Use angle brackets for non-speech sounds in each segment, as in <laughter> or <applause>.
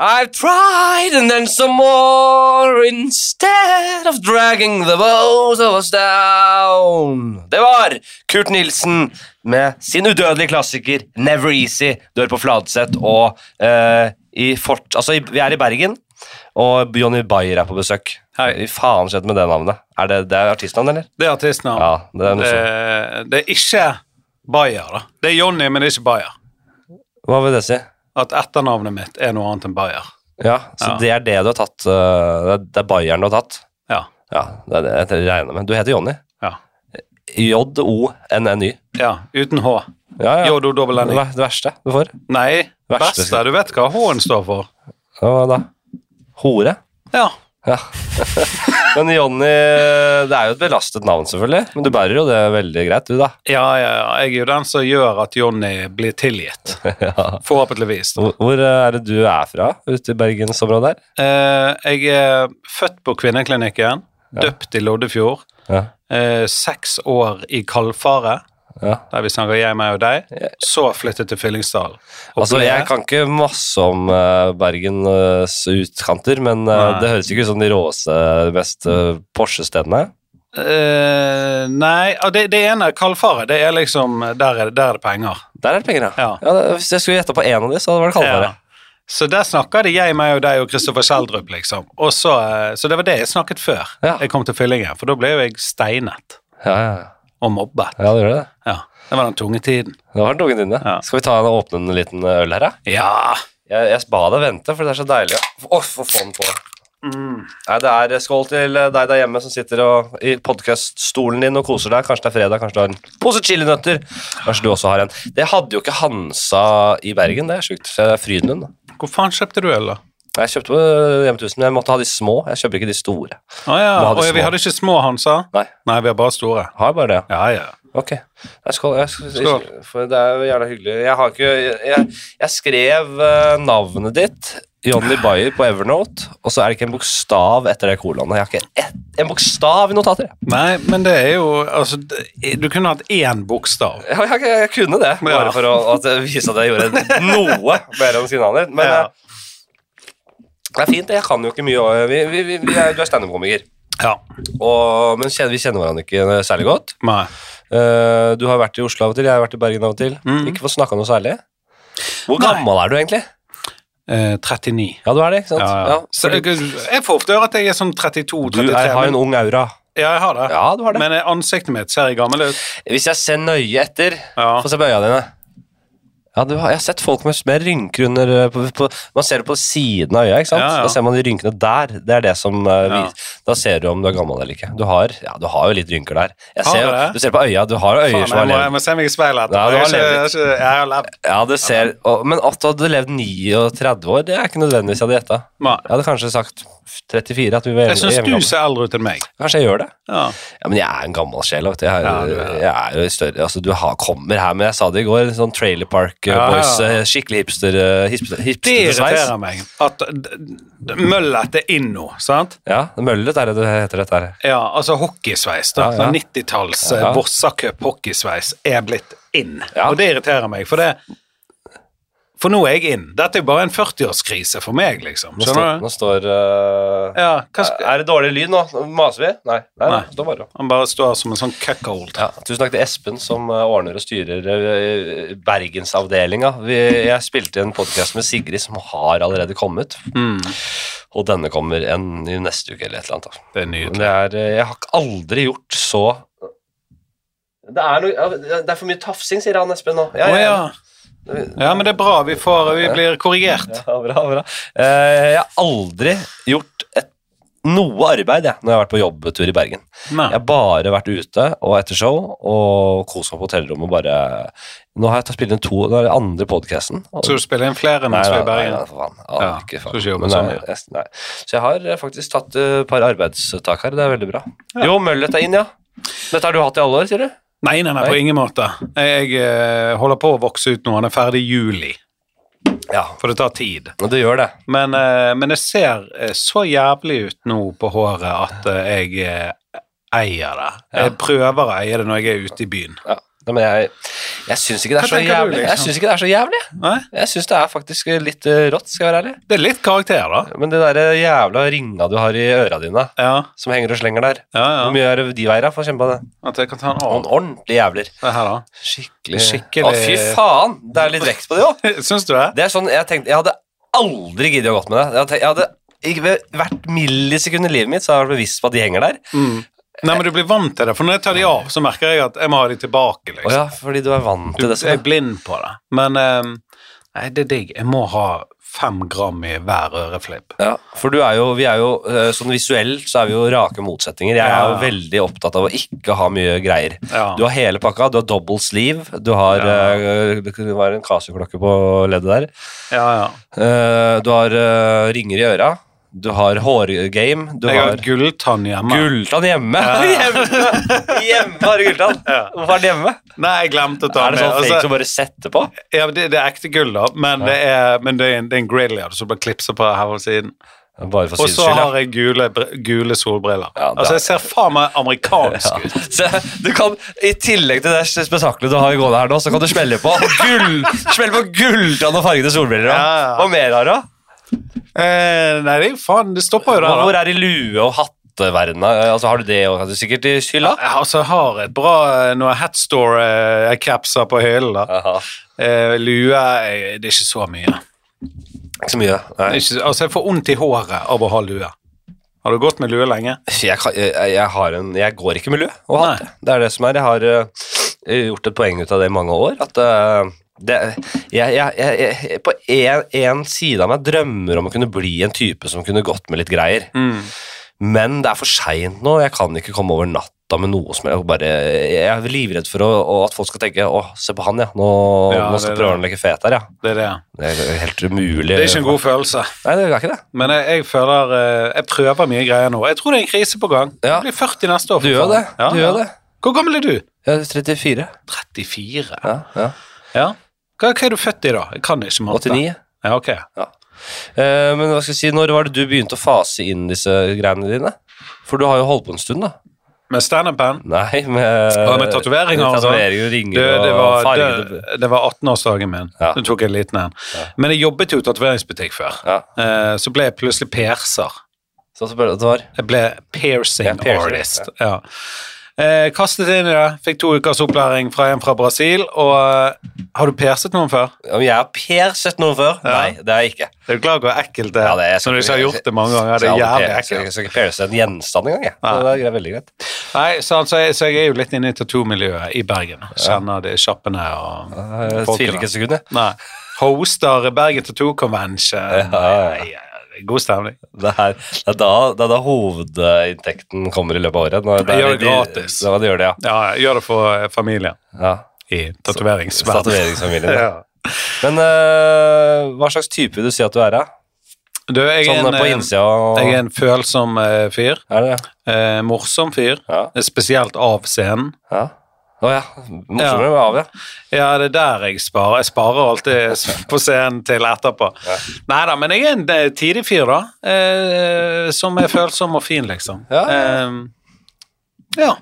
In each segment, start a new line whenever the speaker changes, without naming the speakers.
I've tried and then some more instead of dragging the bows of us down. Det var Kurt Nilsen med sin udødelige klassiker Never Easy. Du hører på Fladseth og eh, i Fort... Altså, i- vi er i Bergen, og Johnny Bayer er på besøk. Hei. Faen skjedde med det navnet. Er det, det er artistnavn, eller?
Det er artistnavn.
Ja, det er noe
det,
sånt.
det er ikke Bayer, da. Det er Jonny, men det er ikke Bayer.
Hva vil det si?
At etternavnet mitt er noe annet enn Bayer.
Ja, så
Ja.
det er det du har tatt. eh, det er- det er Bayeren du har tatt.
Ja.
Ja, det er det jeg regner med. Du heter Johnny.
Ja.
J-O-N-N-Y.
ja uten H.
Ja, ja.
Jodo-dobbel-N-I.
Hva er Det verste du får?
Nei,
Verste.
beste. Du vet hva H-en står for.
Ja, Hva da? Hore?
Ja.
Ja. Men Jonny Det er jo et belastet navn, selvfølgelig. Men du bærer jo det veldig greit, du, da. <laughs>
Ja, ja, ja. Jeg er jo den som gjør at Jonny blir tilgitt. Forhåpentligvis.
Hvor hvor eh, er det du er fra? Ute i bergensområdet her?
Eh, jeg er født på kvinneklinikken, døpt i Loddefjord.
Ja.
eh, seks år i Kalfaret,
ja.
der vi snakker jeg, meg og deg. Så flyttet til Fyllingsdal. Og
Altså,
ble-
jeg kan ikke masse om eh, Bergens utkanter, men eh,
Nei.
det høres ikke ut som de råeste, mest eh, Porsche-stedene.
Eh, nei, ja, det, det ene, Kalfaret, det er liksom Der er, der er det penger.
Der er det penger, ja.
Ja.
ja det, hvis jeg skulle gjette på en av de, så var det Kalfaret.
Ja. Så der snakker de jeg, meg og deg og Kristoffer Schjelderup, liksom. Og så, eh, så det var det jeg snakket før
Ja.
jeg kom til Fyllingen, for da ble jo jeg steinet
Ja, ja, ja.
og mobbet.
ja, det gjør det.
Ja. Det var den tunge tiden.
Det var dungen dine.
Ja.
Skal vi ta en og åpne en liten øl her, da?
Ja!
Jeg, jeg ba deg vente, for det er så deilig. å- Å, få få den på.
Mm.
Nei, det er skål til eh, deg der hjemme som sitter og, i podkaststolen din og koser deg. Kanskje det er fredag, kanskje du har en pose chilinøtter. Kanskje du også har en. Det hadde jo ikke Hansa i Bergen, det er sjukt. Så det er Frydenlund. da.
Hvor faen kjøpte du øl, da?
Jeg kjøpte på eh, Hjemmetusen, men jeg måtte ha de små. Jeg kjøper ikke de store.
Å ja.
Vi hadde
Å, ja, vi
små.
hadde ikke små Hansa?
Nei.
Nei, vi har bare store.
Har bare det. ja.
Ja, ja.
Ok. Nei, skål. Jeg, skal-
Skål.
For det er jo gjerne hyggelig. Jeg har ikke Jeg, jeg skrev eh, navnet ditt, Johnny Bayer, på Evernote, og så er det ikke en bokstav etter det kolonet. Jeg har ikke ett, en bokstav i notater. jeg.
Nei, men det er jo Altså, det- du kunne hatt én bokstav.
Jeg, jeg, jeg, kunne det, bare
Ja.
for å at det vise at jeg gjorde noe mer enn signalen din. Men
Ja.
eh, det er fint. det. Jeg kan jo ikke mye. og Vi, vi, vi, vi er, du er standup-komiker,
Ja.
og- men kjenner, vi kjenner hverandre ikke særlig godt.
Nei.
Eh, du har vært i Oslo av og til, jeg har vært i Bergen av og til.
Mhm.
Ikke fått snakka noe særlig. Hvor
Nei.
gammel er du egentlig?
Eh, 39.
Ja, du er det, ikke sant?
Ja, ja. Så jeg, jeg får ofte høre at jeg er sånn 32-33.
du er, har en ung aura.
Ja, jeg har det.
Ja, du har det.
Men eh, ansiktet mitt ser jeg gammel ut.
Hvis jeg ser nøye etter
Ja.
Få se på øya dine. Ja, du har, Jeg har sett folk med, med rynker under eh, på, på, Man ser det på siden av øya. ikke sant?
Ja, ja.
Da ser man de rynkene der. Det er det som eh,
Ja.
vis- Da ser du om du er gammel eller ikke. Du har, ja, du har jo litt rynker der. Jeg
Har
ser,
jeg
jo-
det?
du ser på øya, du har jo
Faen,
øyer
jeg,
som har
må, jeg
levd.
må se meg i speilet etterpå.
Ja, du
jeg,
har
er ikke- jeg, er ikke- jeg har levd.
Ja, du ser, og, men at du hadde levd 39 år, det er ikke nødvendigvis jeg hadde gjetta.
Nei.
Jeg hadde kanskje sagt 34. at vi var
Jeg syns
hjemme-
du ser eldre ut enn meg.
Kanskje jeg gjør det.
Ja.
Ja, men jeg er en gammel sjel. vet du. Jeg, er-
Ja, du er det.
jeg er jo større Altså, du har, kommer her med Jeg sa det i går. Sånn Trailer Park eh,
Ja, ja.
Boys. eh, Skikkelig hipster eh, hipster-
Det
hipstersveis.
irriterer meg at d- d- møllet er inn nå, sant?
ja, Møllet er det det heter, dette her.
Ja, altså hockeysveis.
Ja,
da.
ja.
Sånn 90-talls
Ja.
ja. Borsacup hockeysveis er blitt inn.
Ja.
Og det irriterer meg, for det For nå er jeg inn. Dette er bare en 40-årskrise for meg, liksom.
Nå står,
Skjønner du?
nå står eh,
Ja, hva skal
Er det dårlig lyd nå? Nå Maser vi? Nei. nei, nei.
Nei.
det Står bare.
Han bare står som en sånn cuckold.
Ja, tusen takk til Espen som eh, ordner og styrer eh, Bergensavdelinga. Vi- Jeg spilte en podkast med Sigrid som har allerede kommet,
Mm.
og denne kommer en i neste uke eller et eller annet. da.
Det er
Men
nydelig.
det er, eh, jeg har ikke aldri gjort så det er, noe, ja, det er for mye tafsing, sier han Espen nå.
Å
Ja, ja, ja.
ja. ja, men det er bra. Vi, får, vi blir korrigert.
Ja, bra, bra. Eh, jeg har aldri gjort et, noe arbeid jeg, når jeg har vært på jobbetur i Bergen. Jeg
Nei.
har bare vært ute og etter show og kost meg på hotellrommet og bare Nå har jeg tatt spille inn to Nå er det andre podkasten.
Så du spiller inn flere
Nei,
mens
nei,
vi er i
nei, nei,
Bergen?
for faen. Ja,
Ja,
ikke faen.
skal ikke jobbe
Men
så
nei, jeg, nei. Så jeg har eh, faktisk tatt eh, et par arbeidstak her. Det er veldig bra. Jo, Møllet er inn, ja. Dette har du hatt i alle år, sier du?
Nei, nei, nei, på ingen måte. Jeg eh, holder på å vokse ut nå. Han er ferdig i juli,
Ja,
for det tar tid.
og det gjør det.
Men, eh, men jeg ser eh, så jævlig ut nå på håret at eh, jeg eh, eier det. Jeg prøver å eie det når jeg er ute i byen.
Ja, Ja, men jeg, jeg syns ikke det
Hva
er så
tenker du,
jævlig. Jeg
liksom?
syns ikke det er så jævlig.
Nei?
Jeg syns det er faktisk eh, litt eh, rått, skal jeg være ærlig.
Det er litt karakter, da.
Men det der eh, jævla ringa du har i øra dine,
Ja,
som henger og slenger der
ja,
Hvor
ja.
mye er det de veier, da? Få kjempe av det.
At jeg kan ta en
Noen
annen.
ordentlige jævler.
Det her, da. <laughs>
Skikkelig
Skikkelig-
Å, fy faen! Det er litt vekt på det òg.
Syns du det?
Det er sånn, jeg tenkte Jeg hadde aldri giddet å gått med det. Jeg hadde, tenkt- jeg hadde ikke ved hvert millisekund i livet mitt så har jeg vært bevisst på at de henger der.
Mm. Nei, men du blir vant til det, for når jeg tar de av, så merker jeg at jeg må ha de
Å
tilbake, liksom.
ja, fordi du er vant
Du
til det.
jeg er
Sånn.
blind på det. Men ehm, nei, det er digg. Jeg må ha fem gram i hver øreflipp.
Ja, for du er jo, vi er jo eh, sånn visuelt så er vi jo rake motsetninger. Jeg er jo
Ja.
veldig opptatt av å ikke ha mye greier.
Ja.
Du har hele pakka, du har double sleeve, du har eh, Det var en Casio-klokke på leddet der.
ja, ja.
Eh, du har eh, ringer i øra, du har hårgame, du
Jeg har
har
gulltann hjemme.
Gulltann hjemme!
Ja.
<laughs> hjemme! Hjemme har du gulltann!
Ja.
Hvorfor er den hjemme?
Nei, jeg glemte å ta
Er det
med.
sånn fake
Altså,
som bare setter på?
ja, det, det er ekte gull, da, men, det, er, men det, er en, det er en grill, ja, som bare klipser på her på siden.
Bare for
Og
syns
så
skyld,
har jeg gule, br- gule solbriller.
Ja, det er-
altså, jeg ser faen meg
ja.
amerikansk ut.
<laughs> Så du kan, I tillegg til det spetakkelet du har gående her nå, så kan du smelle på gull, smelle på gulltann og fargede solbriller. da.
Ja, ja.
Hva mer har du? da?
Eh, nei, det er jo faen, det stopper jo der.
Hvor
da.
hvor er det i lue- og hatteverdenen? da? Altså, har du det også? sikkert i hylla?
Ja, altså, jeg har et bra eh, noe Hatstore-capser på hyllen. da.
Aha.
Eh, lue eh, Det er ikke så mye.
Ikke så mye.
Det
Nei.
er ikke, altså, jeg får vondt i håret av å ha lue. Har du gått med lue lenge?
jeg, kan- jeg, jeg, har en, jeg går ikke med lue og hatt
Nei.
det. Det er det som er. Jeg har eh, gjort et poeng ut av det i mange år. At eh, det, jeg, jeg, jeg, jeg, på en, en side av meg drømmer om å kunne bli en type som kunne gått med litt greier.
Mm,
Men det er for seint nå. Jeg kan ikke komme over natta med noe som jeg bare Jeg er livredd for å, å- at folk skal tenke Å, se på han, ja. Nå,
Ja,
nå
det
skal
er det.
prøve å leke fet her, ja.
Det er det.
Det er helt umulig.
Det er ikke en god følelse.
Nei, det er ikke det.
Men jeg, jeg føler eh, Jeg prøver mye greier nå. Jeg tror det er en krise på gang.
Ja.
Jeg blir 40 neste år. for
Du gjør det.
faen. Ja,
du
ja.
gjør det.
Hvor gammel er du?
Jeg er 34.
34.
Ja, ja.
Ja. Hva, hva er du født i, da? Jeg kan ikke matte.
89.
Ja, ok.
Eh, men hva skal jeg si, når var det du begynte å fase inn disse greiene dine? For du har jo holdt på en stund, da.
Med standup-band?
Nei, med,
Ja, med tatoveringer og
med
sånn.
tatoveringer og ringer
Det, det
og
var,
fargede
det, det var 18-årsdagen min.
Ja.
Da tok jeg en liten en. Men jeg jobbet jo i tatoveringsbutikk før.
Ja, sånn
Eh, Så ble jeg plutselig perser.
så så ble det at det var
Jeg ble piercing,
Ja, piercing,
artist. Ja. Eh, kastet inn i det. Fikk to ukers opplæring fra en fra Brasil. Og eh, har du perset noen før?
Om jeg har Per sett noe før? Nei, det har jeg ikke.
Er du klar over hvor ekkelt det er?
Ja, det er-
Når du ikke har gjort det mange ganger. Det
Så
er
jeg har aldri
jævlig
per- så jeg
ekkelt.
skal ikke pierce en gjenstand engang, jeg. Så
Nei.
det er veldig greit.
Nei, så, altså, jeg, så jeg er jo litt inne i tattoo-miljøet i Bergen. Kjenner de kjappene og
Jeg Eh, tviler ikke
folkene.
et sekund, jeg.
Nei. Hoster Bergen Tattoo Convention.
ja, ja.
Nei, ja, det er God stemning.
Det er, det, er da, det er da hovedinntekten kommer i løpet av året. Når
Jeg gjør det
de-
gratis.
Ja, det gjør det, ja.
Ja, jeg gjør det for eh, familien
ja.
i tatoveringsverdenen.
Tatoveringsfamilien.
<laughs>
ja.
Ja.
Men øh, hva slags type vil du si at du er, da?
Du, jeg er
Sånn
en,
på
eh,
innsida og
Jeg er en følsom eh, fyr.
Er det det?
Eh, morsom fyr.
Ja.
Spesielt av scenen.
ja. Å ja. Morsommere med av, ja.
Ja, det er der jeg sparer. Jeg sparer alltid s- på scenen til etterpå. Nei da, men jeg er en eh, tidig fyr, da. Eh, som er følsom og fin, liksom.
Ja.
Eh, ja.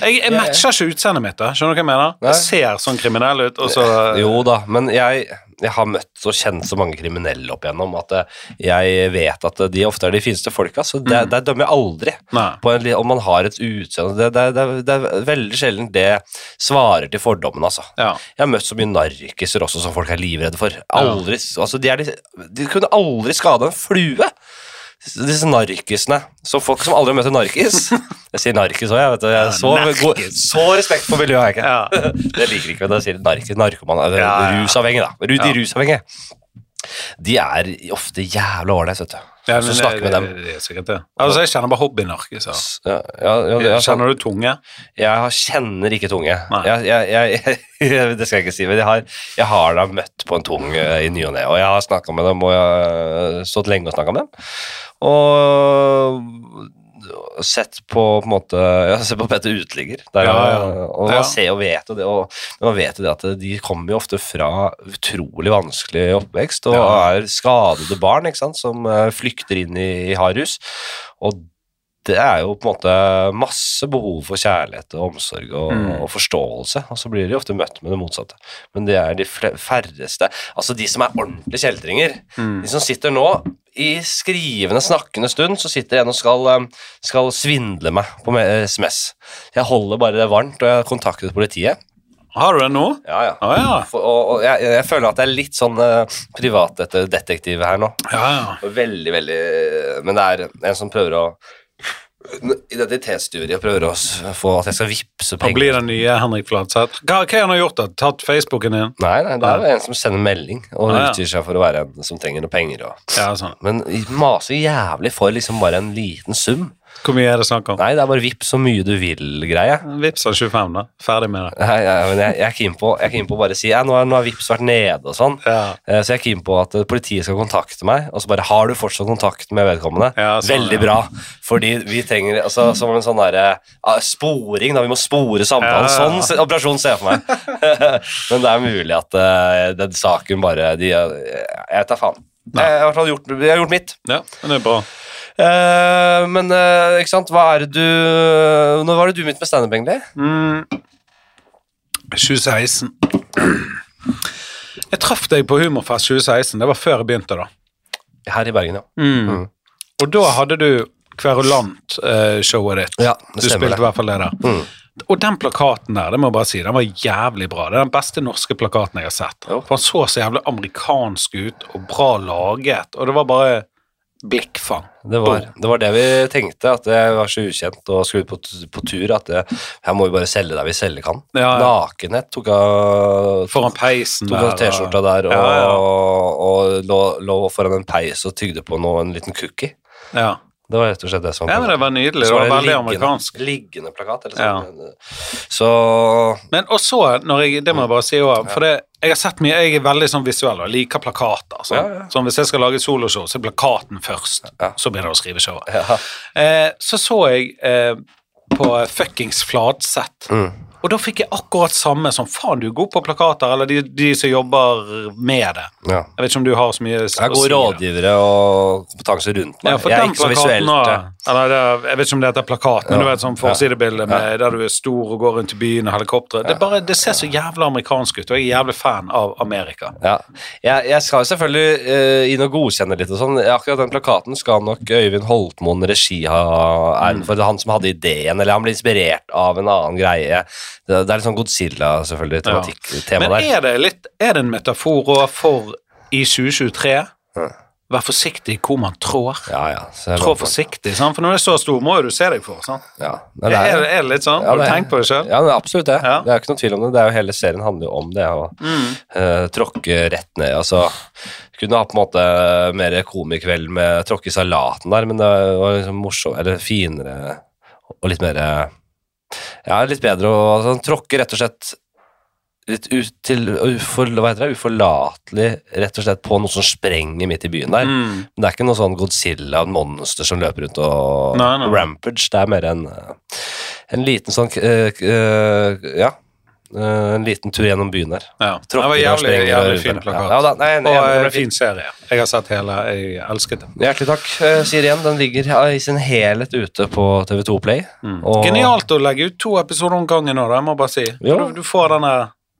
Jeg, jeg
ja.
matcher ikke utseendet mitt, da. Skjønner du hva jeg mener?
Nei.
Jeg ser sånn kriminell ut, og så
Jo da, men jeg, jeg har møtt og kjent så mange kriminelle opp igjennom at eh, jeg vet at eh, de ofte er de fineste folka, så der, der dømmer jeg aldri.
Mm. Nei.
På en, li- om man har et utseende det, det, det, det er veldig sjelden det svarer til fordommen, altså.
Ja.
Jeg har møtt så mye narkiser også som folk er livredde for. Aldri, altså, de, er de, de kunne aldri skade en flue. Disse narkisene. Så folk som aldri har møtt en
<laughs>
narkis Jeg sier narkis òg, jeg. vet du. Jeg er så,
narkis.
god, så respekt for miljøet har jeg ikke.
ja.
Det liker ikke, men da sier nark narkoman eller
Ja, ja.
Rusavhengige, da. Ru- De
Ja.
rusavhengige. De er ofte jævla ålreite, vet du.
Ja,
så
men
snakker vi med
det-
dem.
Det, det er sikkert det. Altså, jeg kjenner bare hobbynarkiser.
Ja, ja, ja, det er sånn.
Kjenner du tunge?
Jeg har- kjenner ikke tunge.
Nei.
Jeg, jeg, jeg, det skal jeg <laughs> ikke si, men jeg har, jeg har da møtt på en tung eh, i ny og ne. Og jeg har snakka med dem, og jeg har stått lenge og snakka med dem. Og sett på på en måte Jeg har sett på Petter Uteligger. Der,
Ja, ja.
Og
Ja.
man ser og vet jo det. Og, men man vet jo det at de kommer jo ofte fra utrolig vanskelig oppvekst og
Ja.
er skadede barn ikke sant, som eh, flykter inn i, i hardhus. Og det er jo på en måte masse behov for kjærlighet og omsorg og,
Mm.
og forståelse, og så blir de ofte møtt med det motsatte. Men det er de fle- færreste Altså de som er ordentlige kjeltringer. De som sitter nå i skrivende, snakkende stund, så sitter en og skal, eh, skal svindle meg på me- eh, SMS. Jeg holder bare det varmt, og jeg har kontaktet politiet.
Har du det nå?
Ja, ja.
Å ja.
For, og og jeg, jeg føler at jeg er litt sånn eh, privatdetektiv her nå.
Ja, ja.
Veldig, veldig eh, Men det er en som prøver å Identitetstyveri og prøver å s- få at jeg skal vippse
Han
penger.
blir den nye Henrik Fladseth. Hva, hva han har gjort da? Tatt Facebooken din?
Nei, nei, det er jo en som sender melding og
Ah, Ja, ja.
utgir seg for å være en som trenger noe penger. Og.
Ja, sånn.
Men maser jævlig for liksom bare en liten sum.
Hvor mye er det snakk om?
Nei, det er bare vipp så mye du vil-greie.
Vips av 25, da. Ferdig med det.
Nei, nei, men jeg, jeg er keen på jeg er keen på å bare si ja, nå, har- nå har Vipps vært nede og sånn.
Ja.
Eh, Så jeg er keen på at eh, politiet skal kontakte meg, og så bare har du fortsatt kontakt med vedkommende.
Ja, sånn,
Veldig
ja.
bra. Fordi vi trenger altså, som en sånn derre ah, sporing, da. Vi må spore samtalen.
Ja, ja, ja.
Sånn se- operasjon ser jeg for meg. <laughs> Men det er mulig at eh, den saken bare de, eh, Jeg tar faen. Jeg, jeg, har i hvert fall gjort, jeg har gjort mitt.
ja, men det er bra.
Eh, men eh, ikke sant, hva er det du Når var det du begynte med standup, egentlig?
Mm. 2016. Jeg traff deg på Humorfest 2016. Det var før jeg begynte, da.
Her i Bergen, ja.
Mm. Og da hadde du kverulantshowet ditt.
Ja, det
du
stemmer
spilte
det.
i hvert fall det der.
Mm.
Og den plakaten der, det må jeg bare si, den var jævlig bra. Det er den beste norske plakaten jeg har sett.
Jo.
For Den så så jævlig amerikansk ut, og bra laget, og det var bare blikkfang.
Det var, det var det vi tenkte, at det var så ukjent og skulle ut på, t- på tur at det, her må vi bare selge der vi selge kan.
Ja, ja.
Nakenhet tok av
Foran peisen
tok av T-skjorta der og,
Ja, ja.
og, lå, lå foran en peis og tygde på noe, en liten cookie.
Ja.
Det var rett og slett det som
ja, men det var nydelig.
Så
Det var veldig
liggende-
amerikansk.
Liggende plakat, eller sånn. Så
Men også, når jeg, det må jeg bare si også, for det, jeg har sett mye, jeg er veldig sånn visuell og liker plakater. Sånn.
Ja, ja.
Sånn, hvis jeg skal lage et soloshow, så er plakaten først,
Ja.
så begynner jeg å skrive showet.
ja.
Eh, så så jeg eh, på fuckings Fladseth.
Mm.
Og da fikk jeg akkurat samme som faen, du er god på plakater, eller de, de som jobber med det.
ja.
Jeg vet ikke om du har så mye
Det er gode
da.
rådgivere og kompetanse rundt meg.
Ja, for
jeg er
den
ikke så
plakaten
visuelt. eh.
har-
ja.
eller det, er- Jeg vet ikke om det heter plakat, men
Ja.
du vet sånn forsidebilde med der du er stor og går rundt i byen og helikopteret. Det, er bare- det ser så jævla amerikansk ut, og jeg er jævlig fan av Amerika.
Ja. Jeg, jeg skal jo selvfølgelig eh, inn og godkjenne litt og sånn. Akkurat den plakaten skal nok Øyvind Holtmoen regi ha æren
Mm.
for. Det er han som hadde ideen, eller han ble inspirert av en annen greie. Det, det er litt sånn Godzilla, selvfølgelig,
Ja.
tematikk, tema
Men
der.
er det, litt, er det en metafor også for i 2023 Vær forsiktig i hvor man trår.
Ja, ja. Så jeg
Trå
lover-
forsiktig, sant? for når det er så stor, må jo du se deg for. Sant?
ja.
Er,
Nei, det er,
det- er det litt sånn?
Ja,
Har du
det er-
tenkt på det sjøl?
ja, det er absolutt det.
Ja.
Det er jo ikke noe tvil om det. det er jo hele serien handler jo om det. å
Mm,
eh, tråkke rett ned. Altså, kunne ha på en måte mer komikveld med tråkke i salaten der, men det var liksom morsom, eller finere og litt mer eh, Ja, litt bedre og altså, han Tråkke rett og slett litt ut til, ufor, hva heter det, uforlatelig rett og slett på noe som sprenger midt i byen der.
Mm.
Men det er ikke noe sånn Godzilla, et monster som løper rundt og
Nei, nei.
rampage. Det er mer en, eh, en liten sånn eh, k- eh, Ja. eh, En liten tur gjennom byen her.
Ja. Det
Tråkker
var
og
jævlig,
sprenger og
jævlig
rundt
fin
der.
plakat.
Ja, da, nei, jeg er enig,
og
det
eh,
ble
fin serie. Jeg har sett hele, jeg elsket det.
Hjertelig takk, eh, sier igjen. Den ligger ja, i sin helhet ute på TV2 Play.
Mm.
Og-
Genialt å legge ut to episoder om gangen nå, det må jeg bare si.
Ja.
Du, du får denne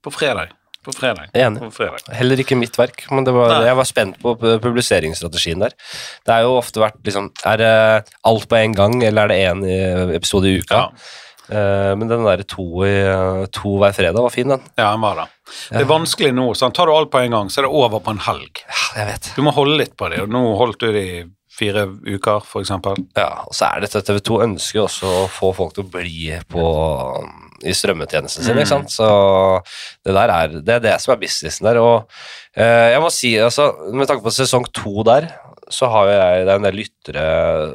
på fredag. På fredag.
Enig.
På fredag.
Heller ikke mitt verk, men det var,
Nei.
jeg var spent på pu- publiseringsstrategien der. Det har jo ofte vært liksom Er det alt på en gang, eller er det én episode i uka?
Ja.
Eh, Men den derre to, i- eh, to hver fredag var fin, den.
ja, han var det. Det er vanskelig nå. Sant? Tar du alt på en gang, så er det over på en helg.
Ja, jeg vet.
Du må holde litt på det, og nå holdt du det i fire uker, for eksempel.
Ja, og så er det TV 2 ønsker jo også å få folk til å bli på, i strømmetjenesten sin, ikke sant? Så det der er det, er det som er businessen der. Og eh, jeg må si, altså, med tanke på sesong to der, så har jo jeg det er en del lyttere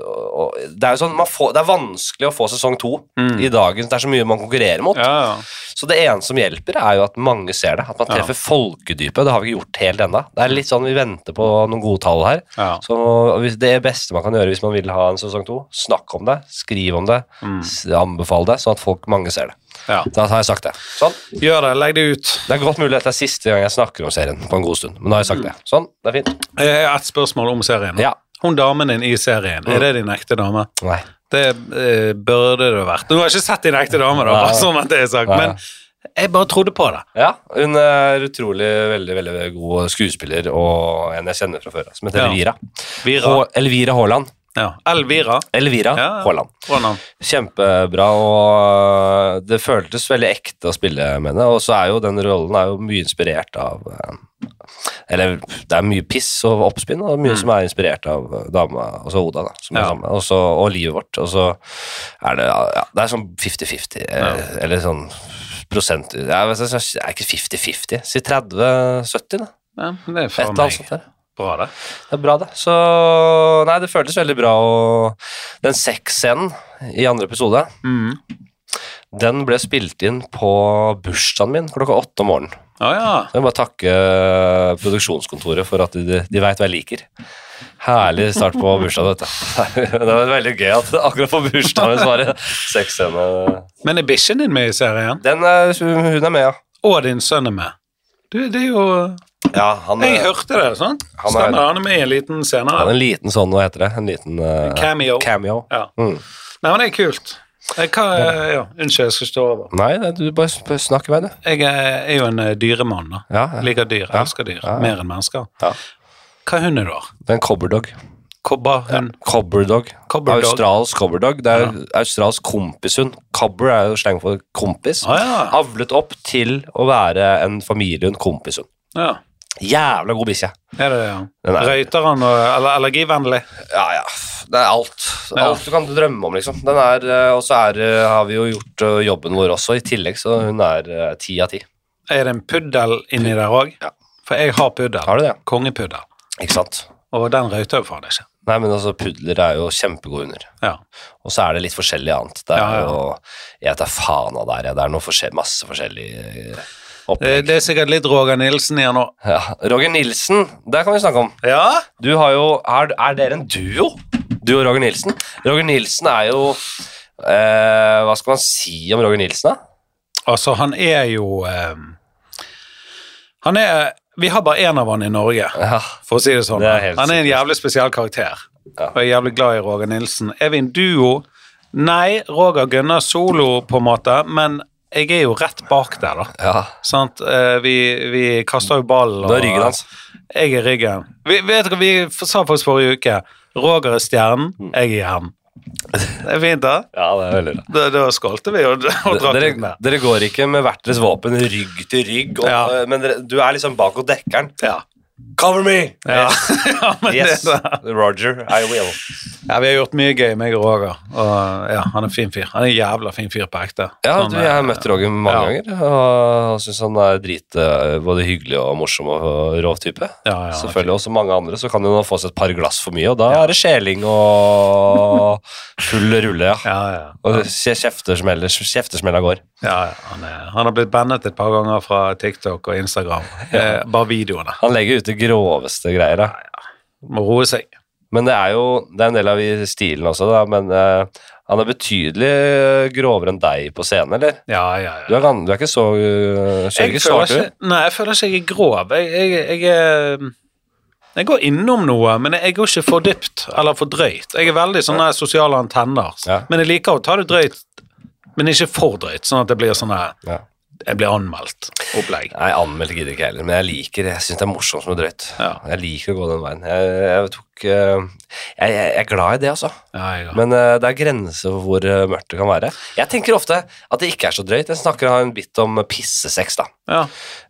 og, og, Det er jo sånn, man får, det er vanskelig å få sesong to
Mm.
i dagens Det er så mye man konkurrerer mot.
Ja, ja.
Så det ene som hjelper, er jo at mange ser det. At man
Ja.
treffer folkedypet. Det har vi ikke gjort helt ennå. Det er litt sånn vi venter på noen gode tall her.
Ja.
Så hvis det beste man kan gjøre hvis man vil ha en sesong to, snakk om det, skriv om det,
Mm.
s- anbefal det, sånn at folk mange ser det.
ja.
Da har jeg sagt det. Sånn.
Gjør det, legg det ut.
Det er godt mulig at det er siste gang jeg snakker om serien på en god stund, men da har jeg sagt det. Sånn, det er fint.
Eh, Et spørsmål om serien.
Ja. Mm.
Hun damen din i serien, er det din ekte dame?
Nei.
Det eh, burde det vært. Nå har jeg ikke sett din ekte dame, da,
Nei.
bare sånn at det er sagt.
Nei.
Men jeg bare trodde på det.
Ja, hun er utrolig veldig, veldig god skuespiller, og en jeg kjenner fra før, altså, som heter
Ja.
Elvira.
Vira.
Hå- Elvira Haaland.
Ja. Elvira.
Elvira
Ja, ja.
Haaland.
Hvordan?
Kjempebra, og det føltes veldig ekte å spille med henne. Og så er jo den rollen er jo mye inspirert av eh, Eller det er mye piss og oppspinn, og mye som er inspirert av eh, dama, altså Oda, da, som
Ja.
er sammen, og, så, og livet vårt. Og så er det ja, Det er sånn 50-50, eh, eller sånn prosent ja, men så- så- sånn, Det er ikke 50-50, si 30-70, da.
Ja, det er
Et
for
eller annet
meg
sånt der.
bra, det.
Det er bra, det. Så Nei, det føltes veldig bra, og den sexscenen i andre episode
Mm.
Den ble spilt inn på bursdagen min klokka åtte om morgenen.
Å ja.
Så jeg må bare takke eh, produksjonskontoret for at de, de veit hva jeg liker. Herlig start på bursdagen, vet du. <laughs> Det var veldig gøy at akkurat på bursdagen min så var det sexscene.
Men er bikkjen din med i serien?
Den er, hun er med, ja.
Og din sønn er med? Du, det er jo
Ja, han eh,
Jeg
er,
hørte det, sant?
Han er-
Stemmer, han er med i en liten
han er
senere.
en liten sånn, hva heter det? En liten eh,
Cameo.
cameo.
Ja.
Mm.
Nei, men det er kult. Eh, Hva, ja, unnskyld, jeg skal stå over.
Nei, det- du bare sp- snakk i vei, du.
Jeg er er jo en eh, dyremann, da.
Ja, ja.
Liker dyr, elsker dyr.
ja.
Mer enn mennesker.
Ja.
Hva hund er du har?
Det er en cobberdog.
Kobberhund?
Cobberdog.
Cobberdog.
Australsk cobberdog. Det er australsk kompishund. Cobber er jo sleng for kompis.
Å ja.
Avlet opp til å være en familiehund, kompishund.
ja.
Jævla god bikkje.
Er det det?
Den
Ja.
er-
Røyter han og eller, allergivennlig?
Ja, ja. Det er alt.
Ja.
Alt du kan drømme om, liksom. Den er, eh, Og så er, eh, har vi jo gjort eh, jobben vår også, i tillegg, så hun er eh, ti av ti.
Er det en puddel inni der òg?
Ja.
For jeg har puddel.
Har du det?
Kongepuddel.
Ikke sant?
Og den røyter jo faen ikke.
Nei, men altså, pudler er jo kjempegode hunder.
Ja.
Og så er det litt forskjellig annet. Det er
Ja, ja.
jo Jeg tar faen av det her. ja. Det er noe forskjell, masse forskjellig eh,
Det,
opplegg.
det er sikkert litt Roger Nilsen i han òg.
Ja. Roger Nilsen, der kan vi snakke om.
Ja?
Du har jo Er, er dere en duo? Du og Roger Nilsen? Roger Nilsen er jo eh, Hva skal man si om Roger Nilsen, da?
Altså, han er jo eh, Han er Vi har bare én av han i Norge,
Ja.
for å si det sånn.
Det er helt
han er en jævlig spesiell karakter,
Ja.
og jeg er jævlig glad i Roger Nilsen. Er vi en duo? Nei, Roger Gunnar solo, på en måte, men jeg er jo rett bak der, da.
ja.
Sant? Eh, Vi, vi kaster jo ballen.
Du er ryggen hans.
Jeg er ryggen. Vi, vet dere, vi f- sa faktisk forrige uke Roger er stjernen, jeg er hjernen. Det er fint, da.
Ja, det er veldig bra.
Da, da skålte vi og, og drakk litt
Dere,
mer.
dere går ikke med hvert deres våpen rygg til rygg, og,
Ja.
eh, men dere, du er liksom bak og dekker den.
Ja.
Cover me!
Ja. <laughs> ja, men
Yes,
<laughs> det er det.
Roger, I will.
ja, vi har gjort mye gøy, meg og Roger. Og ja, han er en fin fyr. Han er en jævla fin fyr på ekte.
Ja,
Sånn,
du, jeg har
eh,
møtt Roger mange
ja.
ganger, og han syns han er drit eh, både hyggelig og morsom og rå type.
Ja, ja,
Selvfølgelig, og som mange andre, så kan jo nå få seg et par glass for mye, og da er det skjeling
<laughs>
og full rulle, ja.
Ja, ja.
Og kje- kjeftersmeller, kjeftesmella går.
ja, ja han, er, han har blitt bannet et par ganger fra TikTok og Instagram. Eh, bare videoene.
Han legger ut det groveste greier, da.
Må roe seg.
Men det er jo det er en del av i stilen også, da. Men eh, han er betydelig eh, grovere enn deg på scenen, eller?
Ja, ja,
Du
ja.
er, gan- du er ikke så uh,
Jeg
Kjører ikke
føler
svart, du?
ikke, nei, jeg føler ikke jeg er grov. Jeg, jeg, jeg, er- jeg går innom noe, men jeg går ikke for dypt eller for drøyt. Jeg er veldig sånne sosiale antenner.
Ja.
Men jeg liker å ta det drøyt, men ikke for drøyt, sånn at det blir sånn her
Ja.
jeg blir anmeldt opplegg.
Nei, anmeldt gidder ikke jeg heller, men jeg liker det. Jeg syns det er morsomt som det er drøyt.
Ja.
Jeg liker å gå den veien. Jeg, jeg tok eh, jeg, jeg, jeg er glad i det, altså.
Ja, ja.
Men eh, det er grenser for hvor eh, mørkt det kan være. Jeg tenker ofte at det ikke er så drøyt. Jeg snakker har en bit om pissesex, da.
ja.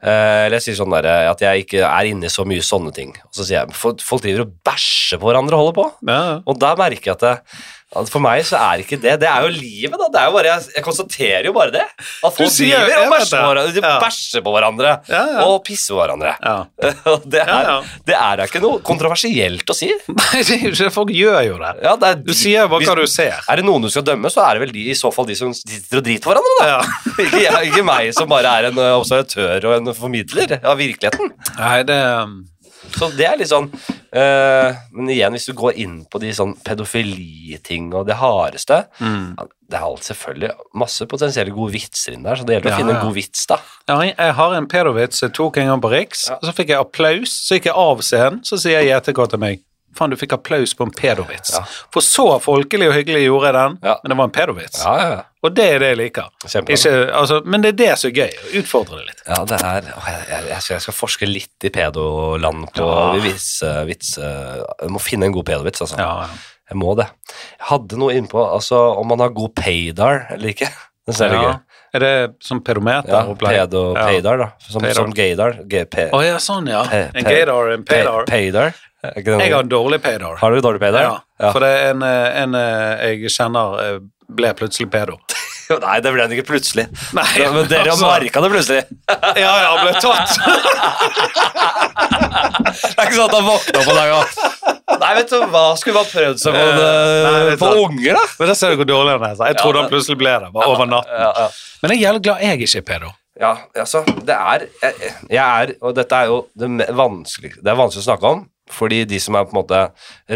Eh, eller jeg sier sånn der, eh, at jeg ikke er inne i så mye sånne ting. Og så sier jeg "Fol- folk driver og bæsjer på hverandre og holder på.
ja. <laughs>
Og da merker jeg at, det, at for meg så er ikke det Det er jo livet, da. Det er jo bare, jeg, jeg konstaterer jo bare det. At folk
sier-
driver og
jeg vet
bæsjer på,
det.
hverandre- de
Ja.
bæsjer på hverandre
Ja, ja.
og pisser på hverandre.
Ja.
<laughs> Og det er,
Ja, ja.
det er da ikke noe kontroversielt å si.
Nei, det er jo ikke det. folk gjør jo det.
Ja, det er,
Du sier bare hva du
hvis-
ser.
Er det noen du skal dømme, så er det vel de, i så fall de som sitter og driter på hverandre, da.
Ja.
<laughs> ikke, jeg, ikke meg som bare er en ø, observatør og en formidler av virkeligheten.
Nei, det um,
Så det er litt sånn eh, Men igjen, hvis du går inn på de sånn pedofiliting og det hardeste
Mm.
ja, Det er alt selvfølgelig masse potensielle gode vitser inn der, så det gjelder
Ja,
å finne
ja.
en god vits, da.
Ja, Jeg jeg har en pedovits jeg tok en gang på Riks, og så fikk jeg applaus, så gikk jeg av scenen, så sier JTK til meg Faen, du fikk applaus på en pedovits.
Ja.
For så folkelig og hyggelig gjorde jeg den,
Ja.
men det var en pedovits.
Ja, ja, ja.
Og det er det jeg liker.
Kjempebra.
Ikke, altså, men det er det som er gøy. å Utfordre det litt.
Ja, det er åh, jeg, jeg, jeg skal- jeg skal forske litt i pedoland på
Ja.
vits, eh, vits. eh, Jeg må finne en god pedovits, altså.
Ja,
Jeg må det. Jeg hadde noe innpå altså, om man har god paydar eller ikke. <laughs> Det
ja.
ser jeg
ja.
gøy.
Er det sånn pedometer?
Ja,
opplegg?
pedo,
Ja.
paydar, da. Som,
Paydar.
som gaydar. G P-
Å ja, sånn, ja.
Pe-
En
pe-
gaydar og en
pa-
paydar.
paydar. Er ikke det noe-
Jeg har en dårlig paydar.
Har du dårlig paydar?
Ja, for det er en, eh, en eh, jeg kjenner eh, ble plutselig pedo.
Jo, <laughs> Nei, det ble den ikke plutselig.
Nei,
Ja, men dere har
altså.
merka det plutselig.
Ja, ja, han ble tatt.
Det er ikke sånn at han våkna på dagen og Nei, vet du hva, skulle bare prøvd seg på,
Eh, nei,
det,
vet du
på
hva.
unger, da?
Men det ser du hvor dårlig han er. så Jeg trodde han plutselig ble det, bare over natten.
Ja, ja.
Men jeg er jævlig glad jeg ikke er pedo.
Ja, altså, det er jeg, jeg er, og dette er jo det me- vanskelig Det er vanskelig å snakke om, fordi de som er på en måte